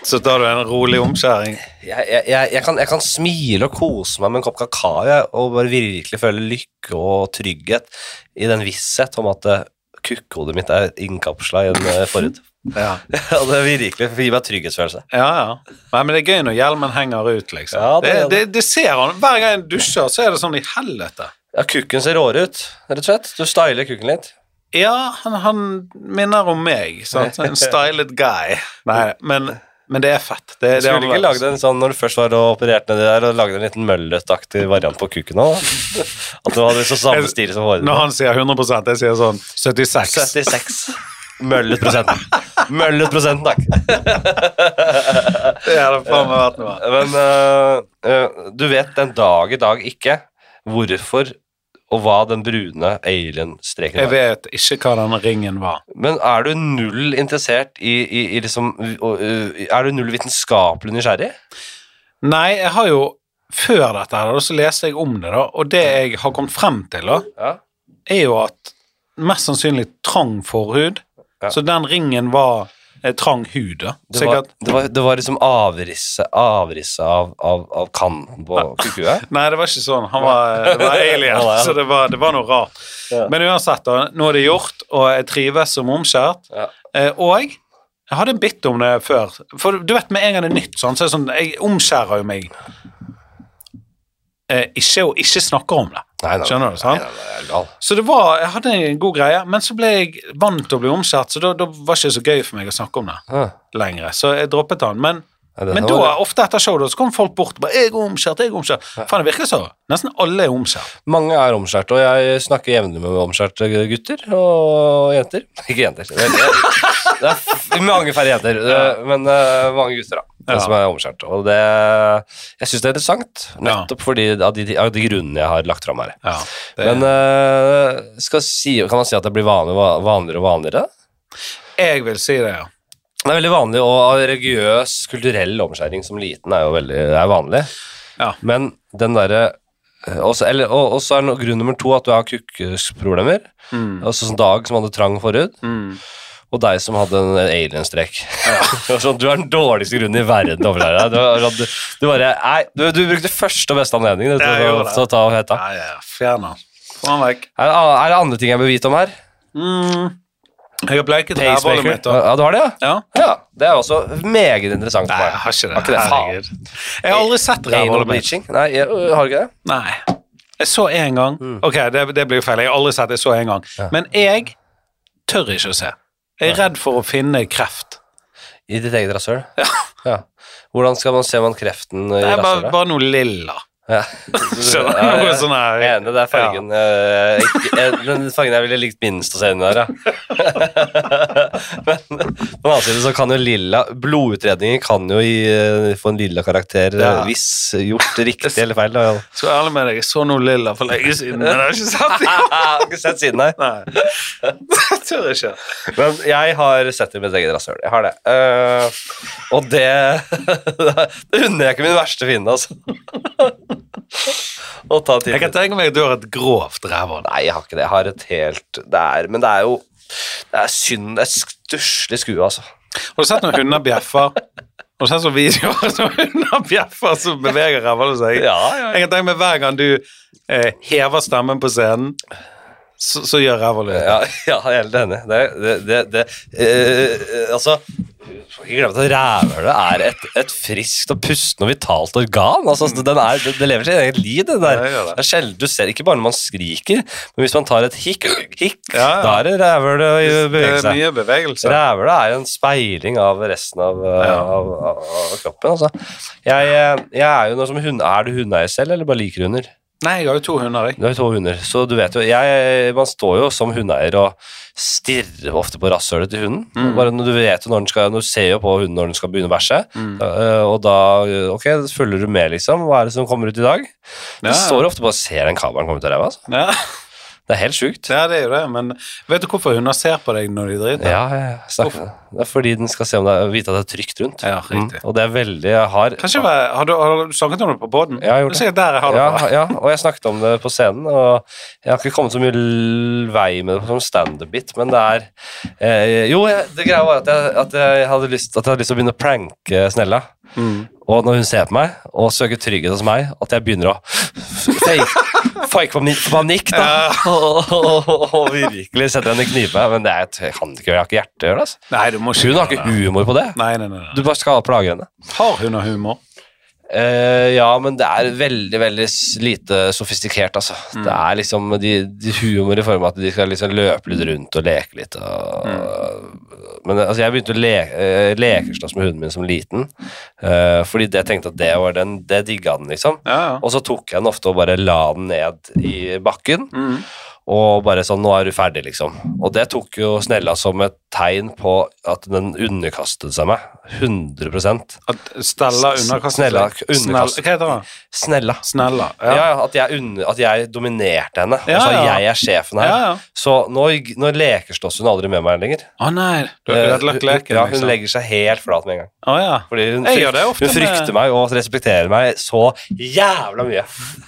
Så tar du en rolig omskjæring.
Jeg, jeg, jeg, jeg, kan, jeg kan smile og kose meg med en kopp kakao jeg, og bare virkelig føle lykke og trygghet i den visshet om at uh, kukkhodet mitt er innkapsla i en eh,
<laughs>
<laughs> forhud.
Ja.
Og det virkelig gir meg trygghetsfølelse.
ja, ja. Nei, men det er gøy når hjelmen henger ut, liksom.
Ja, det
det,
er
det,
det.
det, ser han. Hver gang jeg dusjer, så er det sånn i helvete.
Ja, kukken ser råere ut, rett og slett. Du styler kukken litt.
Ja, han, han minner om meg. Sant? En stylet guy. Nei, men, men det er fett. Det, det er
Skulle du ikke
annerledes.
lagd en sånn når du først var og opererte nedi der, og lagde en liten mølløttaktig variant på kukken òg? At du hadde så samme stil som håret?
Når han sier 100 jeg sier sånn 76.
76. Møllet prosenten. Møllet prosenten, takk.
Det hadde faen meg vært noe.
Men øh, øh, du vet den dag i dag ikke hvorfor og hva den brune alien-streken er.
Jeg vet ikke hva den ringen var.
Men er du null interessert i, i, i liksom og, øh, Er du null vitenskapelig nysgjerrig?
Nei, jeg har jo før dette her, da, så leste jeg om det, da, og det jeg har kommet frem til, da,
Ja.
er jo at mest sannsynlig trang forhud,
Ja.
så den ringen var eh, trang hud, da.
Det var,
Sikkert.
det, var, det var liksom avrisset avrisset av, av, av kanten på kukua.
Nei, det var ikke sånn. Han var, det var
<laughs>
alien,
Ja, ja.
så det var, det var noe rart.
Ja.
Men uansett, da, nå er det gjort, og jeg trives som omskjært.
Ja.
Eh, og jeg hadde en bit om det før. For du vet, med en gang det er nytt, sånn, så er det sånn Jeg omskjærer jo meg eh, ikke og ikke snakker om det.
Nei, nei,
Skjønner du,
Nei,
sant?
nei, nei, jeg er gal.
Så det var, jeg hadde en god greie, men så ble jeg vant til å bli omskjært, så da, da var det ikke så gøy for meg å snakke om det
Hæ.
lenger. Så jeg droppet den. Men,
Ja, den
men
var-
da, ofte etter show, da, så kom folk bort og bare 'Jeg er omskjært, jeg er omskjært'. Faen, det virker så. Nesten alle er omskjært.
Mange er omskjært, og jeg snakker jevnlig med omskjærte gutter og jenter. <laughs> Ikke jenter. Det er, det er f- mange færre jenter, eh, men eh, mange gutter da,
Ja.
som er omskjært. Og det, jeg syns det er interessant, nettopp fordi av de, av de grunnene jeg har lagt fram her.
Ja, det,
Men eh, skal si, kan man si at det blir vanlig- vanligere og vanligere?
jeg vil si det, ja.
Det er veldig vanlig, og religiøs, kulturell omskjæring som liten er jo veldig det er vanlig.
Ja.
Men den derre eh, også- eller- Og og så er no- grunn nummer to at du har kukkproblemer.
Mm.
Altså som Dag som hadde trang forhud, og deg som hadde en alienstrek. <laughs> Det var sånn, du er den dårligste grunnen i verden til å omskjære deg. Du, var sånn, du, du bare Nei, du, du brukte første og beste anledning
Ja, jeg
til å-
gjorde det.
til å ta og hete.
Ja, ja, fjern den. Få den vekk.
Er, det an- er det andre ting jeg bør vite om her?
Mm. Jeg har bleiket rævhålet mitt. da.
Ja, du har det, ja?
Ja.
Ja, Det er også meget interessant for
Nei,
meg.
jeg har ikke det.
Har ikke det, faen.
Herregud. Jeg har aldri sett
Anal
rævhålet mitt.
bleaching? Nei, jeg, øh, har du ikke det?
Nei. Jeg så én gang. Ok, det, det blir jo feil. Jeg har aldri sett jeg så én gang. Men jeg tør ikke å se. Jeg er redd for å finne kreft.
I ditt eget rasshøl? Ja. Hvordan skal man se om man kreften i
Det er bare,
rasshølet?
bare noe lilla.
Ja. Ja,
Skjønner du?
ja,
Noe
ja.
sånn her.
Jeg er enig, det er fargen eh, ikke, eh, Den fargen jeg ville likt minst å se inni der, ja. <laughs> Men på den annen side så kan jo lilla Blodutredninger kan jo gi, eh, få en lilla karakter eh,
Ja.
hvis gjort riktig <laughs> eller feil. Da.
Skal være ærlig med deg, jeg så noe lilla for lenge siden, men jeg har ikke sett det. <laughs>
Jeg Ah, har ikke sett siden her.
Nei, <laughs> jeg tør ikke.
Men jeg har sett det i mitt eget rasshøl. Jeg har det. Eh, og det <laughs> Det unner jeg ikke min verste fiende, altså. <laughs> Å ta
Jeg
tiden
kan tenke meg at du har et grovt rævhånd.
Nei, jeg har ikke det. Jeg har et helt det er, Men det er jo Det er synd. Det er stusslig skue, altså.
Har du sett noen hunder bjeffer? Har du sett sånne videoer som hunder bjeffer som beveger rævhåndet seg?
Ja,
Jeg kan tenke meg hver gang du eh, hever stemmen på scenen, så, så gjør rævhåndet det.
Ja, <laughs> ja jeg er helt enig. Det, det, det, det eh, eh, Altså ikke glem at rævhølet er et, et friskt og pustende og vitalt organ. Altså, den er, det, det lever sitt eget liv, det der.
Ja, det gjør det.
Det er sjelden du ser, ikke bare når man skriker, men hvis man tar et hikk, hikk
Ja, ja.
da er det rævhølet i
Det er
bevegelse.
mye bevegelse.
Rævhølet er jo en speiling av resten av, eh,
Ja.
av, av, av kroppen, altså. Jeg, eh, jeg er jo noe som hund... Er du hundeeier selv, eller bare liker hunder?
Nei, jeg har jo to hunder, jeg.
Du har jo to hunder, så du vet jo jeg, Man står jo som hundeeier og stirrer ofte på rasshølet til hunden.
Mm.
Bare når Du vet jo når den skal, når du ser jo på hunden når den skal begynne å bæsje,
Mm.
Eh, og da eh, ok, da følger du med, liksom. Hva er det som kommer ut i dag? Du
Ja.
står ofte bare og ser den kabelen komme ut av ræva. Altså.
Ja,
Det er helt sjukt.
<laughs> ja, det er jo det, men vet du hvorfor hunder ser på deg når de driter?
Ja, ja, ja. Snakk- det er fordi den skal se om det er, vite at det er trygt rundt.
Ja, riktig.
Mm. Og det er veldig Jeg har
Kanskje, være- har, du, har du snakket om det på båten?
Ja, jeg har gjort
det. er Sikkert der jeg har det
ja,
fra.
ja, og jeg snakket om det på scenen, og jeg har ikke kommet så mye l- vei med det som standup-bit, men det er eh, Jo, jeg, det greia var at jeg, at, jeg hadde lyst, at jeg hadde lyst til å begynne å pranke Snella.
Mm.
Og når hun ser på meg og søker trygghet hos meg, at jeg begynner å fake fake panikk, panikk da. Og, og, <laughs> og virkelig setter henne i knipe. Men det er, et- jeg kan ikke gjøre, jeg har ikke hjerte til å gjøre det. Altså.
Nei, du må ikke
Hun har
gjøre
ikke humor på det.
Nei, nei, nei. nei.
Du bare skal plage henne.
Har hunder humor?
Eh, ja, men det er veldig veldig s- lite sofistikert, altså. Det er liksom de, de humor i form av at de skal liksom løpe litt rundt og leke litt. Og, Men altså, jeg begynte å le, eh, lekeslåss med hunden min som liten, eh, fordi det jeg tenkte at det var den, det digga den, liksom.
Ja, ja.
Og så tok jeg den ofte og bare la den ned i bakken. Og bare sånn 'Nå er du ferdig', liksom. Og det tok jo Snella som et tegn på at den underkastet seg meg. 100
At Stella
S-
underkastet
Snella
seg?
underkastet.
Snell- Hva heter han?
Snella.
Snella.
Ja,
Ja,
at, jeg unn- at jeg dominerte henne.
Ja,
og sa
ja.
'jeg er sjefen her'.
ja. ja.
Så nå, nå lekeslåss hun aldri med meg lenger.
Å nei, du har ødelagt leken,
ja, hun
liksom.
legger seg helt flat med en gang.
Å ja.
Fordi hun,
Jeg gjør det ofte
hun frykter
med-
meg og respekterer meg så jævla mye.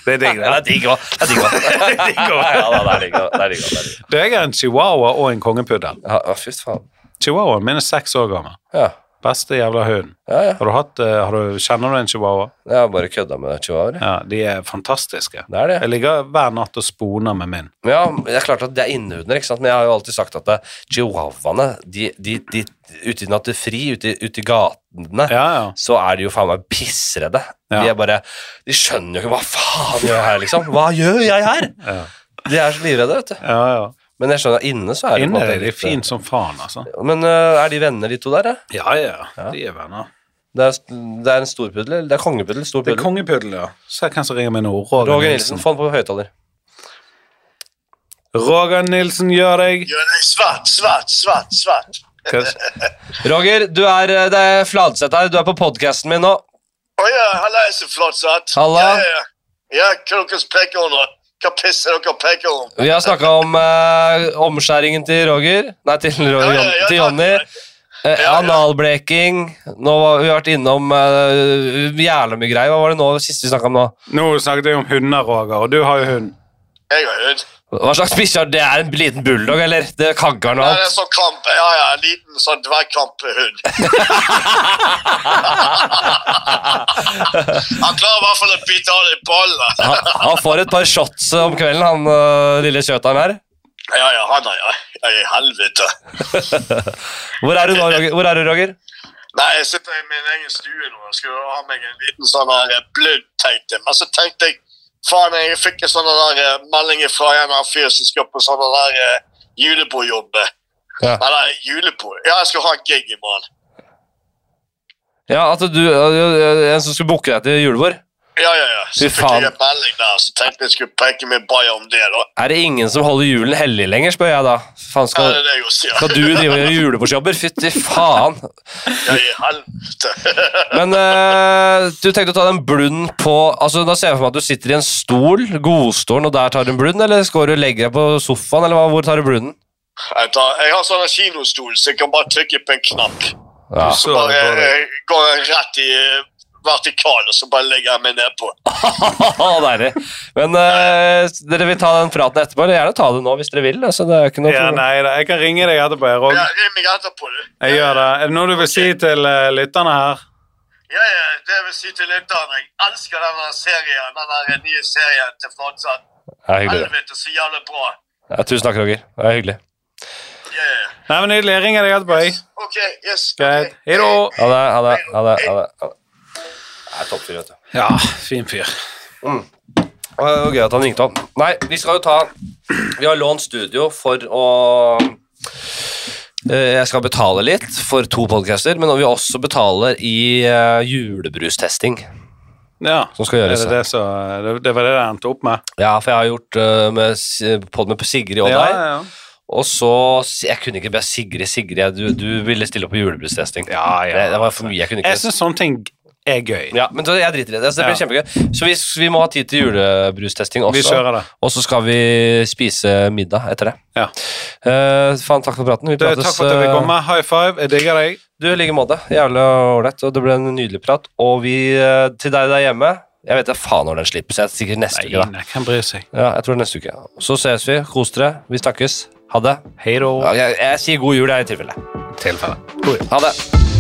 Det er digg,
<laughs> Ja, det er digg òg. Det er
<laughs>
digg også. <laughs> ja, da, det er digg også, det er digg også, det er digg også.
Du, jeg er en chihuahua og en kongepuddel.
Ja, ja, fy faen.
Chihuahuaen min er seks år gammel.
Ja,
Beste jævla hund.
ja. ja.
Har du hatt, eh, har du, Kjenner du en chihuahua?
Jeg har bare kødda med chihuahuaer.
Ja, de er fantastiske.
Det er det.
Jeg ligger hver natt og sponer med min.
Men Ja, det er klart at det er innehunder, ikke sant? men jeg har jo alltid sagt at det- chihuahuaene de, de, de, Ute i nattefri, ute, i- ute i gatene,
Ja, ja.
så er de jo faen meg pissredde.
Ja.
De er bare De skjønner jo ikke hva faen gjør jeg her, liksom. Hva gjør jeg her?
Ja.
De er så livredde, vet du.
ja, ja.
Men jeg skjønner, inne så er det på en
Inne
måte
er de
litt- eh,
fine som faen, altså.
Men øh, er de venner, de to der? Ja?
Ja, ja. De er venner.
Det, er, det er en storpuddel? eller? Det er kongepuddel? Stor
Det er
puddel.
kongepuddel, ja. Se hvem som ringer meg nå. Roger,
Roger
Nilsen.
Nilsen, få den på høyttaler.
Roger Nilsen gjør deg
Gjør deg svart, svart, svart, svart.
Hva-
Roger, du er, øh, det er Fladseth her. Du er på podkasten min nå.
Å ja, halla, så flott satt.
Halla.
Ja, ja, ja. ja, hva dere peker under? Hva pisser dere peker om?
Vi har snakka om øh, omskjæringen til Roger. Nei, til, Roger,
Ja, ja, ja,
til Jonny.
ja.
Eh,
Ja, ja.
Analbleking. Nå har vi vært innom øh, jævla mye greier. Hva var det nå siste vi snakka om nå?
Nå snakket jeg om hunder, Roger, og du har jo hund.
Jeg har hørt.
Hva slags bikkje er det? Det Er en liten bulldog, eller? Det kagger han og
Ja, det er
alt.
sånn kamp. Ja, ja, en liten sånn dvergkamphund. Han klarer i hvert fall å bite av deg ballene.
Han, han får et par shots om kvelden, han øh, lille kjøteren her.
Ja, ja, han er ja. ja. I helvete.
Hvor er du nå, Roger? Hvor er du, Roger?
Nei, jeg sitter i min egen stue nå og skulle ha meg en liten sånn her eh, bludd, tenkte jeg. Men så tenkte jeg, faen, jeg fikk en sånn der eh, melding fra en av fyr som skal på sånn der eh, julebordjobb.
Ja.
Eller julebord. Ja, jeg skal ha en gig i morgen.
eh, Ja, at du øh, øh, En som skulle booke deg til julebord?
Ja, ja, ja. Så
Fy
fikk
faen.
jeg en melding der, så tenkte jeg skulle peke med baja om det, da.
Er det ingen som holder julen hellig lenger, spør jeg da. Faen,
Ja,
skal,
det er det jeg også sier.
skal du drive og gjøre julebordsjobber? Fytti faen.
Ja, i helvete.
Men eh, du tenkte å ta den blund på altså Da ser jeg for meg at du sitter i en stol, godstolen, og der tar du en blund, eller skal du legge deg på sofaen, eller hva, hvor tar du blunden?
Jeg, tar, jeg har sånn en kinostol, så jeg kan bare trykke på en knapp.
<laughs> Ja.
Så
Bare
det går det.
eh, går jeg rett i eh, vertikal, og så bare legger jeg meg nedpå.
Deilig. Men eh, dere vil ta den praten etterpå, eller gjerne ta det nå hvis dere vil. Altså, det er ikke noe
Ja,
problem.
nei da, jeg kan ringe deg etterpå, jeg Rog.
Ja, ring meg etterpå, du.
Jeg gjør det. Er det noe du vil si til eh, lytterne her?
Ja, ja, det vil si til lytterne. Jeg elsker denne serien, denne nye serien til Flatseth.
Det er hyggelig.
Helvete, så jævlig bra.
Ja, tusen takk, Roger. Det er hyggelig.
Ja, ja.
Nei, men nydelig. Jeg ringer deg etterpå, jeg.
OK, yes.
Greit.
ok.
Hei da.
Ha det. Ha det. Ha det. Ha det. Ha det. Det er toppfyr, vet du.
Ja, fin fyr.
Det var gøy at han ringte opp. Nei, vi skal jo ta Vi har lånt studio for å Eh, Jeg skal betale litt for to podcaster, men vi også betaler i eh, julebrustesting.
Ja.
Som skal
Er
gjøres.
det, det, som- det, det var det det endte opp med?
Ja, for jeg har gjort eh, med, S- podd med Sigrid og
Ja,
deg.
ja, ja.
Og så Jeg kunne ikke be Sigrid Sigrid, du, du ville stille opp på julebrustesting.
Ja, ja.
Det, det var for mye. Jeg kunne ikke
Jeg syns sånne ting er gøy.
ja, men så jeg driter i det. Så det blir
Ja.
kjempegøy. Så vi, vi må ha tid til julebrustesting også.
Vi kjører det.
Og så skal vi spise middag etter det.
Ja.
Eh, faen, takk for praten. Vi
Du,
prates
takk for at jeg
eh,
fikk komme. High five. Jeg digger deg.
Du, i like måte. Jævlig ålreit. Og det ble en nydelig prat. Og vi eh, til deg der hjemme Jeg vet da faen når den slipper, så jeg er sikkert neste uke, da.
nei, hvem bryr seg?
Ja, jeg tror det er neste uke. Så ses vi. Kos dere. Vi snakkes. Ha det.
Hei da.
Ja, jeg, jeg sier god jul, jeg, i tilfelle.
Tilfelle. God jul.
Ha det.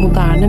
Moderne